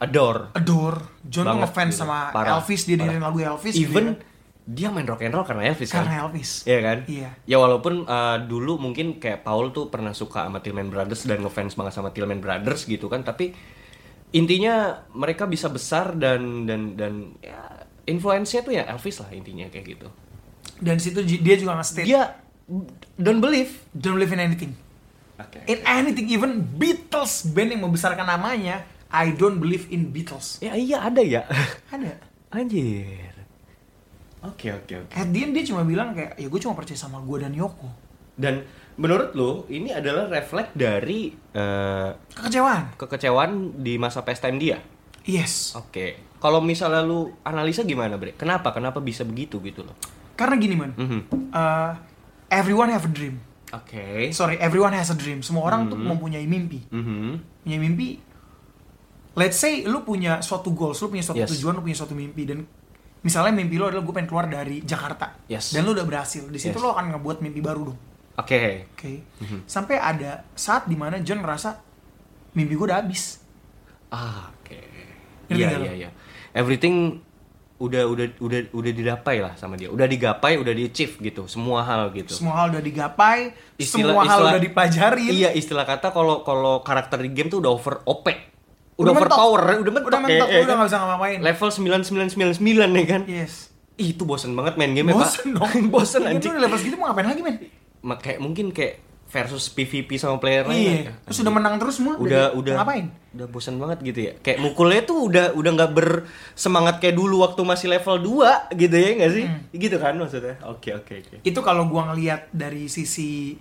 [SPEAKER 3] adore
[SPEAKER 2] adore, John tuh
[SPEAKER 3] Banget,
[SPEAKER 2] ngefans
[SPEAKER 3] gitu.
[SPEAKER 2] sama
[SPEAKER 3] Parah,
[SPEAKER 2] Elvis, dia dengerin
[SPEAKER 3] parah.
[SPEAKER 2] lagu Elvis, gitu
[SPEAKER 3] even
[SPEAKER 2] ya.
[SPEAKER 3] dia main rock and roll karena Elvis
[SPEAKER 2] karena
[SPEAKER 3] kan
[SPEAKER 2] Elvis.
[SPEAKER 3] Iya kan?
[SPEAKER 2] Iya.
[SPEAKER 3] Ya walaupun eh, dulu mungkin kayak Paul tuh pernah suka sama Tillman Brothers dan ngefans banget sama Tillman Brothers gitu kan, tapi intinya mereka bisa besar dan dan dan ya influence-nya tuh ya Elvis lah intinya kayak gitu.
[SPEAKER 2] Dan situ ji- dia juga nge-state
[SPEAKER 3] Dia don't believe.
[SPEAKER 2] don't believe in anything.
[SPEAKER 3] Oke.
[SPEAKER 2] In anything, even Beatles band yang membesarkan namanya, I don't believe in Beatles.
[SPEAKER 3] Ya iya ada ya. [laughs]
[SPEAKER 2] Ada.
[SPEAKER 3] Anjir. Oke oke oke.
[SPEAKER 2] At the end dia cuma bilang kayak, ya gue cuma percaya sama gue dan Yoko.
[SPEAKER 3] Dan menurut lo ini adalah refleks dari eh,
[SPEAKER 2] Kekecewaan.
[SPEAKER 3] kekecewaan di masa pastime dia?
[SPEAKER 2] Yes.
[SPEAKER 3] Oke. Kalau misalnya lu analisa gimana, Bre? Kenapa? Kenapa bisa begitu gitu loh?
[SPEAKER 2] Karena gini man,
[SPEAKER 3] Mhm.
[SPEAKER 2] uh, everyone have a dream.
[SPEAKER 3] Oke.
[SPEAKER 2] Sorry, everyone has a dream. Semua orang tuh mempunyai mimpi.
[SPEAKER 3] Mhm.
[SPEAKER 2] Punya mimpi. Let's say lu punya suatu goals, lu punya suatu
[SPEAKER 3] Yes.
[SPEAKER 2] tujuan, lu punya suatu mimpi dan misalnya mimpi lu adalah gue pengen keluar dari Jakarta.
[SPEAKER 3] Yes.
[SPEAKER 2] Dan lu udah berhasil. Di situ
[SPEAKER 3] Yes.
[SPEAKER 2] lu akan ngebuat mimpi baru dong.
[SPEAKER 3] Oke.
[SPEAKER 2] Oke.
[SPEAKER 3] Mhm.
[SPEAKER 2] Sampai ada saat dimana John ngerasa mimpi gue udah habis.
[SPEAKER 3] Ah, oke.
[SPEAKER 2] Ngerti
[SPEAKER 3] Iya,
[SPEAKER 2] nggak lu?
[SPEAKER 3] iya, iya. Everything udah udah udah udah didapai lah sama dia. Udah digapai, udah di achieve gitu. Semua hal gitu.
[SPEAKER 2] Semua hal udah digapai,
[SPEAKER 3] Istilah-
[SPEAKER 2] semua hal
[SPEAKER 3] istilah-
[SPEAKER 2] udah dipelajarin.
[SPEAKER 3] Iya, istilah kata kalau kalau karakter di game tuh udah over OP.
[SPEAKER 2] Udah mentok.
[SPEAKER 3] Udah, overpower, udah mentok.
[SPEAKER 2] Udah mentok,
[SPEAKER 3] ya, ya
[SPEAKER 2] udah
[SPEAKER 3] kan?
[SPEAKER 2] nggak bisa ngapa-ngapain.
[SPEAKER 3] Level 9999 ya kan?
[SPEAKER 2] Yes.
[SPEAKER 3] Ih, itu bosen banget main game
[SPEAKER 2] Bosen
[SPEAKER 3] ya, Pak.
[SPEAKER 2] dong.
[SPEAKER 3] [laughs] bosen
[SPEAKER 2] Iya,
[SPEAKER 3] anjing. Iya,
[SPEAKER 2] Lu udah level segitu mau ngapain lagi, men?
[SPEAKER 3] Ma- kayak mungkin kayak versus PVP sama player lain.
[SPEAKER 2] Iya.
[SPEAKER 3] kan?
[SPEAKER 2] Terus udah menang terus semua.
[SPEAKER 3] udah
[SPEAKER 2] jadi,
[SPEAKER 3] udah
[SPEAKER 2] mau Ngapain?
[SPEAKER 3] Udah bosan banget gitu ya. Kayak mukulnya tuh udah udah nggak bersemangat kayak dulu waktu masih level 2 gitu ya nggak sih?
[SPEAKER 2] Hmm.
[SPEAKER 3] Gitu kan maksudnya. Oke oke oke.
[SPEAKER 2] Itu kalau gua ngelihat dari sisi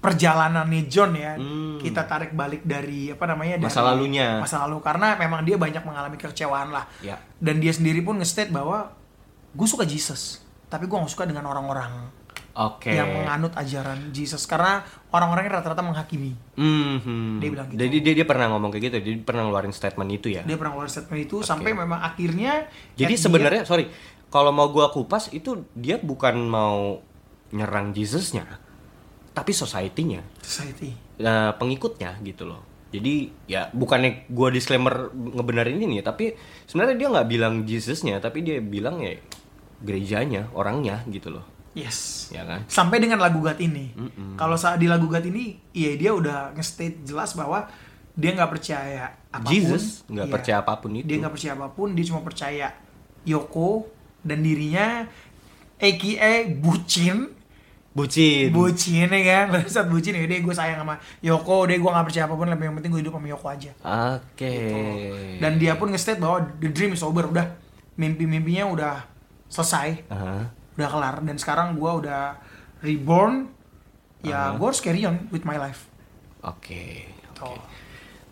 [SPEAKER 2] perjalanannya John ya, kita tarik balik dari apa namanya dari
[SPEAKER 3] Hmm. Masa lalunya.
[SPEAKER 2] Masa lalu karena memang dia banyak mengalami kekecewaan lah.
[SPEAKER 3] Ya.
[SPEAKER 2] Dan dia sendiri pun nge-state bahwa gue suka Jesus, tapi gua nggak suka dengan orang-orang
[SPEAKER 3] Oke.
[SPEAKER 2] yang menganut ajaran Jesus karena orang-orangnya rata-rata menghakimi.
[SPEAKER 3] Mhm.
[SPEAKER 2] Dia bilang gitu.
[SPEAKER 3] Jadi dia, dia pernah ngomong kayak gitu, dia pernah ngeluarin statement itu ya.
[SPEAKER 2] Dia pernah keluar statement itu sampai memang akhirnya at
[SPEAKER 3] Jadi
[SPEAKER 2] the end-
[SPEAKER 3] sebenarnya sorry, kalau mau gua kupas itu dia bukan mau nyerang Jesusnya, tapi society-nya.
[SPEAKER 2] society.
[SPEAKER 3] Nah, pengikutnya gitu loh. Jadi ya bukannya gua disclaimer ngebenerin ini ya, tapi sebenarnya dia nggak bilang Jesusnya, tapi dia bilang ya gerejanya, orangnya gitu loh.
[SPEAKER 2] Yes.
[SPEAKER 3] ya kan?
[SPEAKER 2] Sampai dengan lagu Gat ini. Kalau saat di lagu Gat ini, iya dia udah nge-state jelas bahwa dia nggak percaya apapun.
[SPEAKER 3] Jesus nggak
[SPEAKER 2] Iya.
[SPEAKER 3] percaya apapun itu.
[SPEAKER 2] Dia nggak percaya apapun, dia cuma percaya Yoko dan dirinya aka bucin
[SPEAKER 3] Bucin.
[SPEAKER 2] bucin ya kan [laughs] Lalu saat bucin ya gue sayang sama Yoko deh gue nggak percaya apapun lebih yang penting gue hidup sama Yoko aja
[SPEAKER 3] Oke.
[SPEAKER 2] Gitu. dan dia pun nge-state bahwa the dream is over udah mimpi-mimpinya udah selesai
[SPEAKER 3] Aha.
[SPEAKER 2] udah kelar dan sekarang gua udah reborn ya gua harus carry on with my life
[SPEAKER 3] Oke. Oke.
[SPEAKER 2] Oh.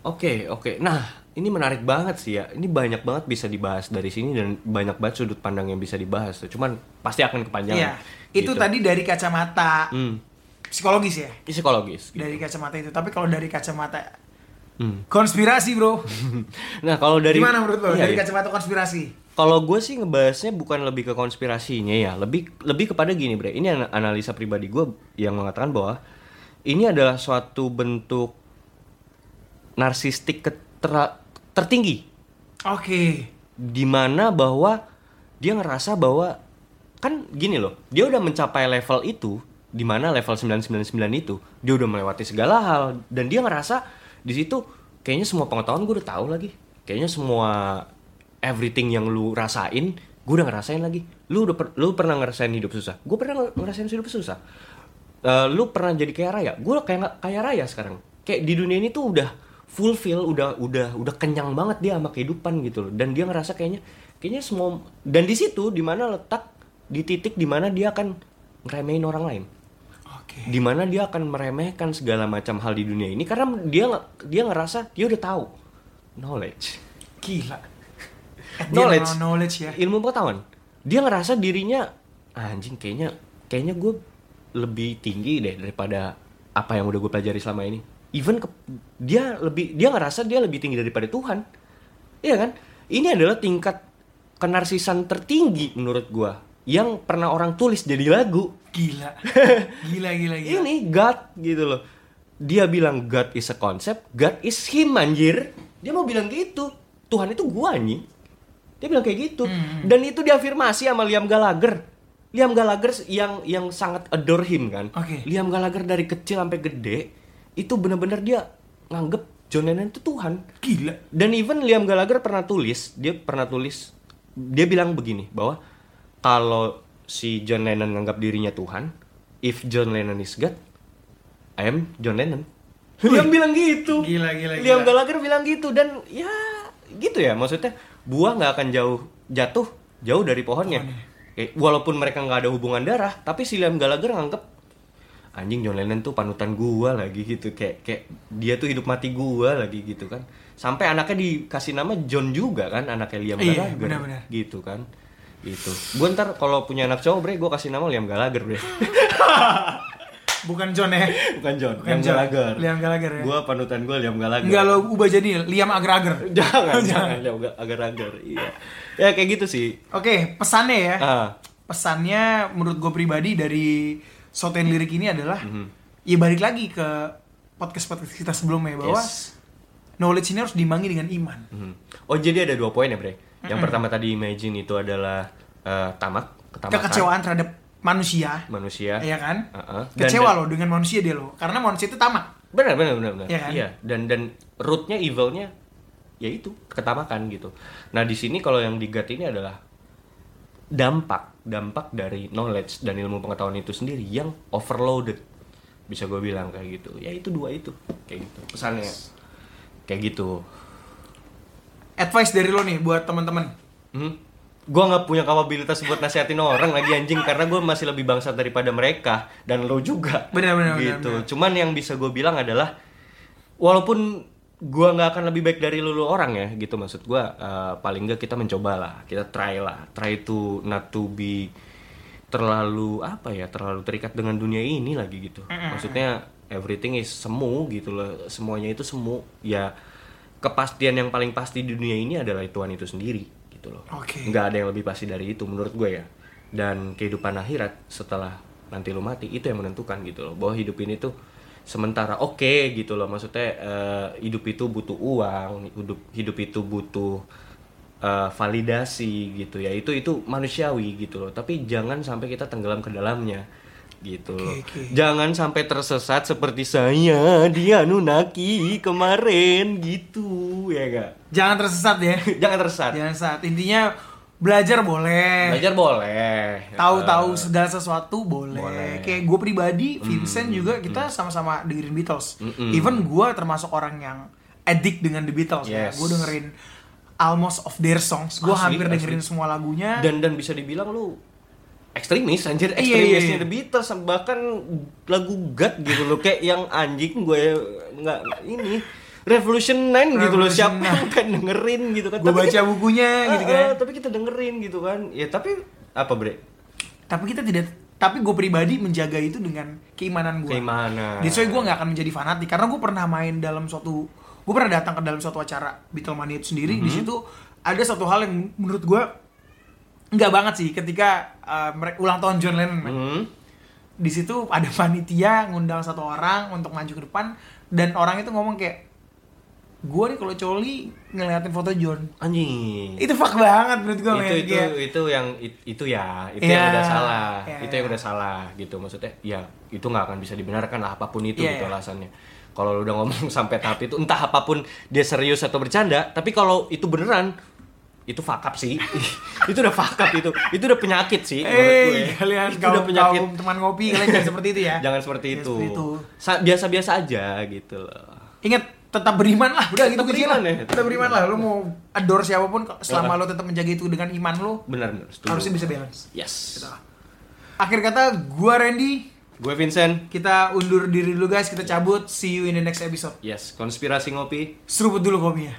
[SPEAKER 3] Oke, oke. Nah, ini menarik banget sih ya. Ini banyak banget bisa dibahas dari sini dan banyak banget sudut pandang yang bisa dibahas. tuh. Cuman pasti akan kepanjangan.
[SPEAKER 2] Iya, itu
[SPEAKER 3] Gitu.
[SPEAKER 2] tadi dari kacamata
[SPEAKER 3] Hmm.
[SPEAKER 2] psikologis ya
[SPEAKER 3] Ini psikologis.
[SPEAKER 2] dari kacamata itu tapi kalau dari kacamata
[SPEAKER 3] Hmm.
[SPEAKER 2] konspirasi bro
[SPEAKER 3] [laughs] Nah, kalau dari
[SPEAKER 2] gimana menurut lo
[SPEAKER 3] Iya,
[SPEAKER 2] dari
[SPEAKER 3] iya.
[SPEAKER 2] kacamata konspirasi
[SPEAKER 3] Kalau gue sih ngebahasnya bukan lebih ke konspirasinya ya, lebih lebih kepada gini bre. Ini an- analisa pribadi gue yang mengatakan bahwa ini adalah suatu bentuk narsistik ketera- tertinggi,
[SPEAKER 2] oke
[SPEAKER 3] dimana bahwa dia ngerasa bahwa kan gini loh, dia udah mencapai level itu, dimana level 999 itu dia udah melewati segala hal dan dia ngerasa di situ kayaknya semua pengetahuan gue udah tahu lagi, kayaknya semua everything yang lu rasain gue udah ngerasain lagi. Lu udah per- lu pernah ngerasain hidup susah, gue pernah nger- ngerasain hidup susah. Eh, lu pernah jadi kaya raya, gue kayak nggak kaya raya sekarang. Kayak di dunia ini tuh udah fulfill, udah udah udah kenyang banget dia sama kehidupan gitu loh. Dan dia ngerasa kayaknya kayaknya semua dan di situ dimana letak di titik dimana dia akan ngeremehin orang lain
[SPEAKER 2] oke
[SPEAKER 3] dimana dia akan meremehkan segala macam hal di dunia ini karena dia nge- dia ngerasa dia udah tahu knowledge
[SPEAKER 2] gila At the
[SPEAKER 3] Knowledge.
[SPEAKER 2] end, knowledge ya
[SPEAKER 3] ilmu pengetahuan dia ngerasa dirinya "Ah, anjing kayaknya kayaknya gue lebih tinggi deh daripada apa yang udah gue pelajari selama ini even ke- dia lebih dia ngerasa dia lebih tinggi daripada Tuhan iya kan ini adalah tingkat kenarsisan tertinggi menurut gue yang pernah orang tulis jadi lagu [laughs]
[SPEAKER 2] gila gila gila Iya, gila
[SPEAKER 3] Iya, ini God gitu loh. Dia bilang God is a concept, God is him anjir. Dia mau bilang gitu. Tuhan itu gua anjing. Dia bilang kayak gitu.
[SPEAKER 2] Hmm,
[SPEAKER 3] Dan itu diafirmasi sama Liam Gallagher. Liam Gallagher yang yang sangat adore him kan.
[SPEAKER 2] Oke.
[SPEAKER 3] Liam Gallagher dari kecil sampai gede itu bener-bener dia nganggep John Lennon itu Tuhan.
[SPEAKER 2] gila
[SPEAKER 3] Dan even Liam Gallagher pernah tulis, dia pernah tulis, dia bilang begini bahwa kalau si John Lennon nganggap dirinya Tuhan, if John Lennon is God, I am John Lennon. Liam bilang gitu.
[SPEAKER 2] Gila, gila, gila.
[SPEAKER 3] Liam Gallagher bilang gitu dan ya gitu ya maksudnya buah nggak akan jauh jatuh jauh dari pohonnya. Eh, walaupun mereka nggak ada hubungan darah, tapi si Liam Gallagher nganggep anjing John Lennon tuh panutan gua lagi gitu kayak kayak dia tuh hidup mati gua lagi gitu kan sampai anaknya dikasih nama John juga kan anaknya Liam
[SPEAKER 2] Iya,
[SPEAKER 3] Gallagher
[SPEAKER 2] benar-benar.
[SPEAKER 3] gitu kan gitu gua ntar kalau punya anak cowok bre gua kasih nama Liam
[SPEAKER 2] [laughs]
[SPEAKER 3] Gallagher bre
[SPEAKER 2] bukan John ya
[SPEAKER 3] bukan John
[SPEAKER 2] Bukan
[SPEAKER 3] Liam
[SPEAKER 2] John.
[SPEAKER 3] Gallagher
[SPEAKER 2] Liam Gallagher, ya.
[SPEAKER 3] gua panutan gua Liam Gallagher
[SPEAKER 2] Enggak lo ubah jadi Liam Agar-Agar.
[SPEAKER 3] [laughs] jangan jangan Liam Gallagher iya ya kayak gitu sih
[SPEAKER 2] Oke, pesannya ya.
[SPEAKER 3] ah
[SPEAKER 2] Pesannya menurut gue pribadi dari Soten Lirik ini adalah
[SPEAKER 3] Mhm.
[SPEAKER 2] ya balik lagi ke podcast-podcast kita sebelumnya bahwa
[SPEAKER 3] yes.
[SPEAKER 2] knowledge ini harus dimangi dengan iman.
[SPEAKER 3] Mhm. oh jadi ada dua poin ya bre yang pertama tadi imagine itu adalah eh, tamak ketamakan
[SPEAKER 2] Kekecewaan terhadap manusia,
[SPEAKER 3] manusia
[SPEAKER 2] ya kan?
[SPEAKER 3] Uh-uh. Dan-
[SPEAKER 2] Kecewa
[SPEAKER 3] dan-
[SPEAKER 2] lo dengan manusia dia lo, karena manusia itu tamak.
[SPEAKER 3] benar benar benar benar
[SPEAKER 2] Iya kan?
[SPEAKER 3] iya dan dan rootnya evilnya ya itu ketamakan gitu nah di sini kalau yang digat ini adalah dampak dampak dari knowledge dan ilmu pengetahuan itu sendiri yang overloaded bisa gue bilang kayak gitu ya itu dua itu kayak gitu pesannya kayak gitu
[SPEAKER 2] Advice dari lo nih buat teman-teman.
[SPEAKER 3] hmm? gue nggak punya kapabilitas buat nasihatin orang lagi anjing karena gue masih lebih bangsat daripada mereka dan lo juga
[SPEAKER 2] Benar, benar, benar,
[SPEAKER 3] gitu
[SPEAKER 2] benar.
[SPEAKER 3] cuman yang bisa gue bilang adalah walaupun gue nggak akan lebih baik dari lulu orang ya gitu maksud gue paling nggak kita mencoba lah kita try lah try to not to be terlalu apa ya terlalu terikat dengan dunia ini lagi gitu maksudnya everything is semu gitu loh semuanya itu semu ya kepastian yang paling pasti di dunia ini adalah Tuhan itu sendiri gitu loh
[SPEAKER 2] Oke.
[SPEAKER 3] nggak ada yang lebih pasti dari itu menurut gue ya dan kehidupan akhirat setelah nanti lu mati itu yang menentukan gitu loh bahwa hidup ini tuh sementara oke gitu loh maksudnya eh, hidup itu butuh uang hidup hidup itu butuh eh, validasi gitu ya itu itu manusiawi gitu loh tapi jangan sampai kita tenggelam ke dalamnya gitu loh.
[SPEAKER 2] Oke, oke.
[SPEAKER 3] jangan sampai tersesat seperti saya dia nunaki kemarin gitu ya gak
[SPEAKER 2] Jangan tersesat ya.
[SPEAKER 3] [laughs] jangan tersesat
[SPEAKER 2] Jangan saat intinya belajar boleh.
[SPEAKER 3] belajar boleh
[SPEAKER 2] Eh,
[SPEAKER 3] gitu.
[SPEAKER 2] Tahu-tahu segala sesuatu boleh.
[SPEAKER 3] Ya. Boleh. Hmm.
[SPEAKER 2] Kayak gue pribadi, Vincent juga kita sama-sama dengerin Beatles. Even gue termasuk orang yang addict dengan The Beatles. Ya.
[SPEAKER 3] Yes.
[SPEAKER 2] Gue dengerin almost of their songs. Gue
[SPEAKER 3] Asli,
[SPEAKER 2] hampir
[SPEAKER 3] asli.
[SPEAKER 2] dengerin semua lagunya.
[SPEAKER 3] dan dan bisa dibilang lu ekstremis anjir
[SPEAKER 2] Iya, iya,
[SPEAKER 3] ekstremisnya
[SPEAKER 2] iya.
[SPEAKER 3] The Beatles bahkan lagu God gitu loh kayak yang anjing gue nggak ini Revolution 9 gitu loh
[SPEAKER 2] Revolution 9.
[SPEAKER 3] siapa yang kan dengerin gitu kan
[SPEAKER 2] gue
[SPEAKER 3] Tapi
[SPEAKER 2] baca
[SPEAKER 3] kita-
[SPEAKER 2] bukunya gitu
[SPEAKER 3] Ah,
[SPEAKER 2] kan.
[SPEAKER 3] ah, tapi kita dengerin gitu kan ya tapi apa bre
[SPEAKER 2] Tapi kita tidak tapi gue pribadi menjaga itu dengan keimanan gue.
[SPEAKER 3] Keimanan.
[SPEAKER 2] That's why gue nggak akan menjadi fanatik karena gue pernah main dalam suatu gue pernah datang ke dalam suatu acara Beatlemania itu sendiri
[SPEAKER 3] Mhm.
[SPEAKER 2] di situ ada satu hal yang menurut gue nggak banget sih ketika uh, mere- ulang tahun John Lennon. men.
[SPEAKER 3] Hmm?
[SPEAKER 2] Di situ ada [laughs] panitia ngundang satu orang untuk maju ke depan dan orang itu ngomong kayak gue nih kalau coli ngeliatin foto John
[SPEAKER 3] anjing
[SPEAKER 2] itu fuck banget menurut gue
[SPEAKER 3] itu itu itu yang it- itu ya itu
[SPEAKER 2] Iya.
[SPEAKER 3] yang udah salah
[SPEAKER 2] Iya.
[SPEAKER 3] itu yang udah salah gitu maksudnya ya itu nggak akan bisa dibenarkan lah apapun itu
[SPEAKER 2] Iya,
[SPEAKER 3] gitu
[SPEAKER 2] iya.
[SPEAKER 3] alasannya kalau lu udah ngomong [laughs] sampai tahap itu entah apapun dia serius atau bercanda tapi kalau itu beneran itu fakap sih [laughs] itu udah fakap itu itu udah penyakit sih menurut gue.
[SPEAKER 2] Eh, kalian
[SPEAKER 3] itu
[SPEAKER 2] kaum,
[SPEAKER 3] udah penyakit
[SPEAKER 2] kaum teman ngopi kalian jangan seperti itu ya.
[SPEAKER 3] [laughs] jangan seperti
[SPEAKER 2] Jangan
[SPEAKER 3] itu
[SPEAKER 2] seperti itu.
[SPEAKER 3] Sa- biasa-biasa aja gitu loh
[SPEAKER 2] Ingat tetap beriman lah, udah gitu
[SPEAKER 3] Tetap
[SPEAKER 2] kuncinya.
[SPEAKER 3] beriman ya, tetap
[SPEAKER 2] Tetap beriman lah, lu mau adore siapapun selama lu tetap menjaga itu dengan iman lu,
[SPEAKER 3] benar-benar setuju.
[SPEAKER 2] harusnya bisa balance.
[SPEAKER 3] yes
[SPEAKER 2] Gitu lah. Akhir kata gua Randy,
[SPEAKER 3] gue Vincent
[SPEAKER 2] kita undur diri dulu guys, kita cabut. See you in the next episode.
[SPEAKER 3] yes konspirasi ngopi
[SPEAKER 2] Seruput dulu kopinya.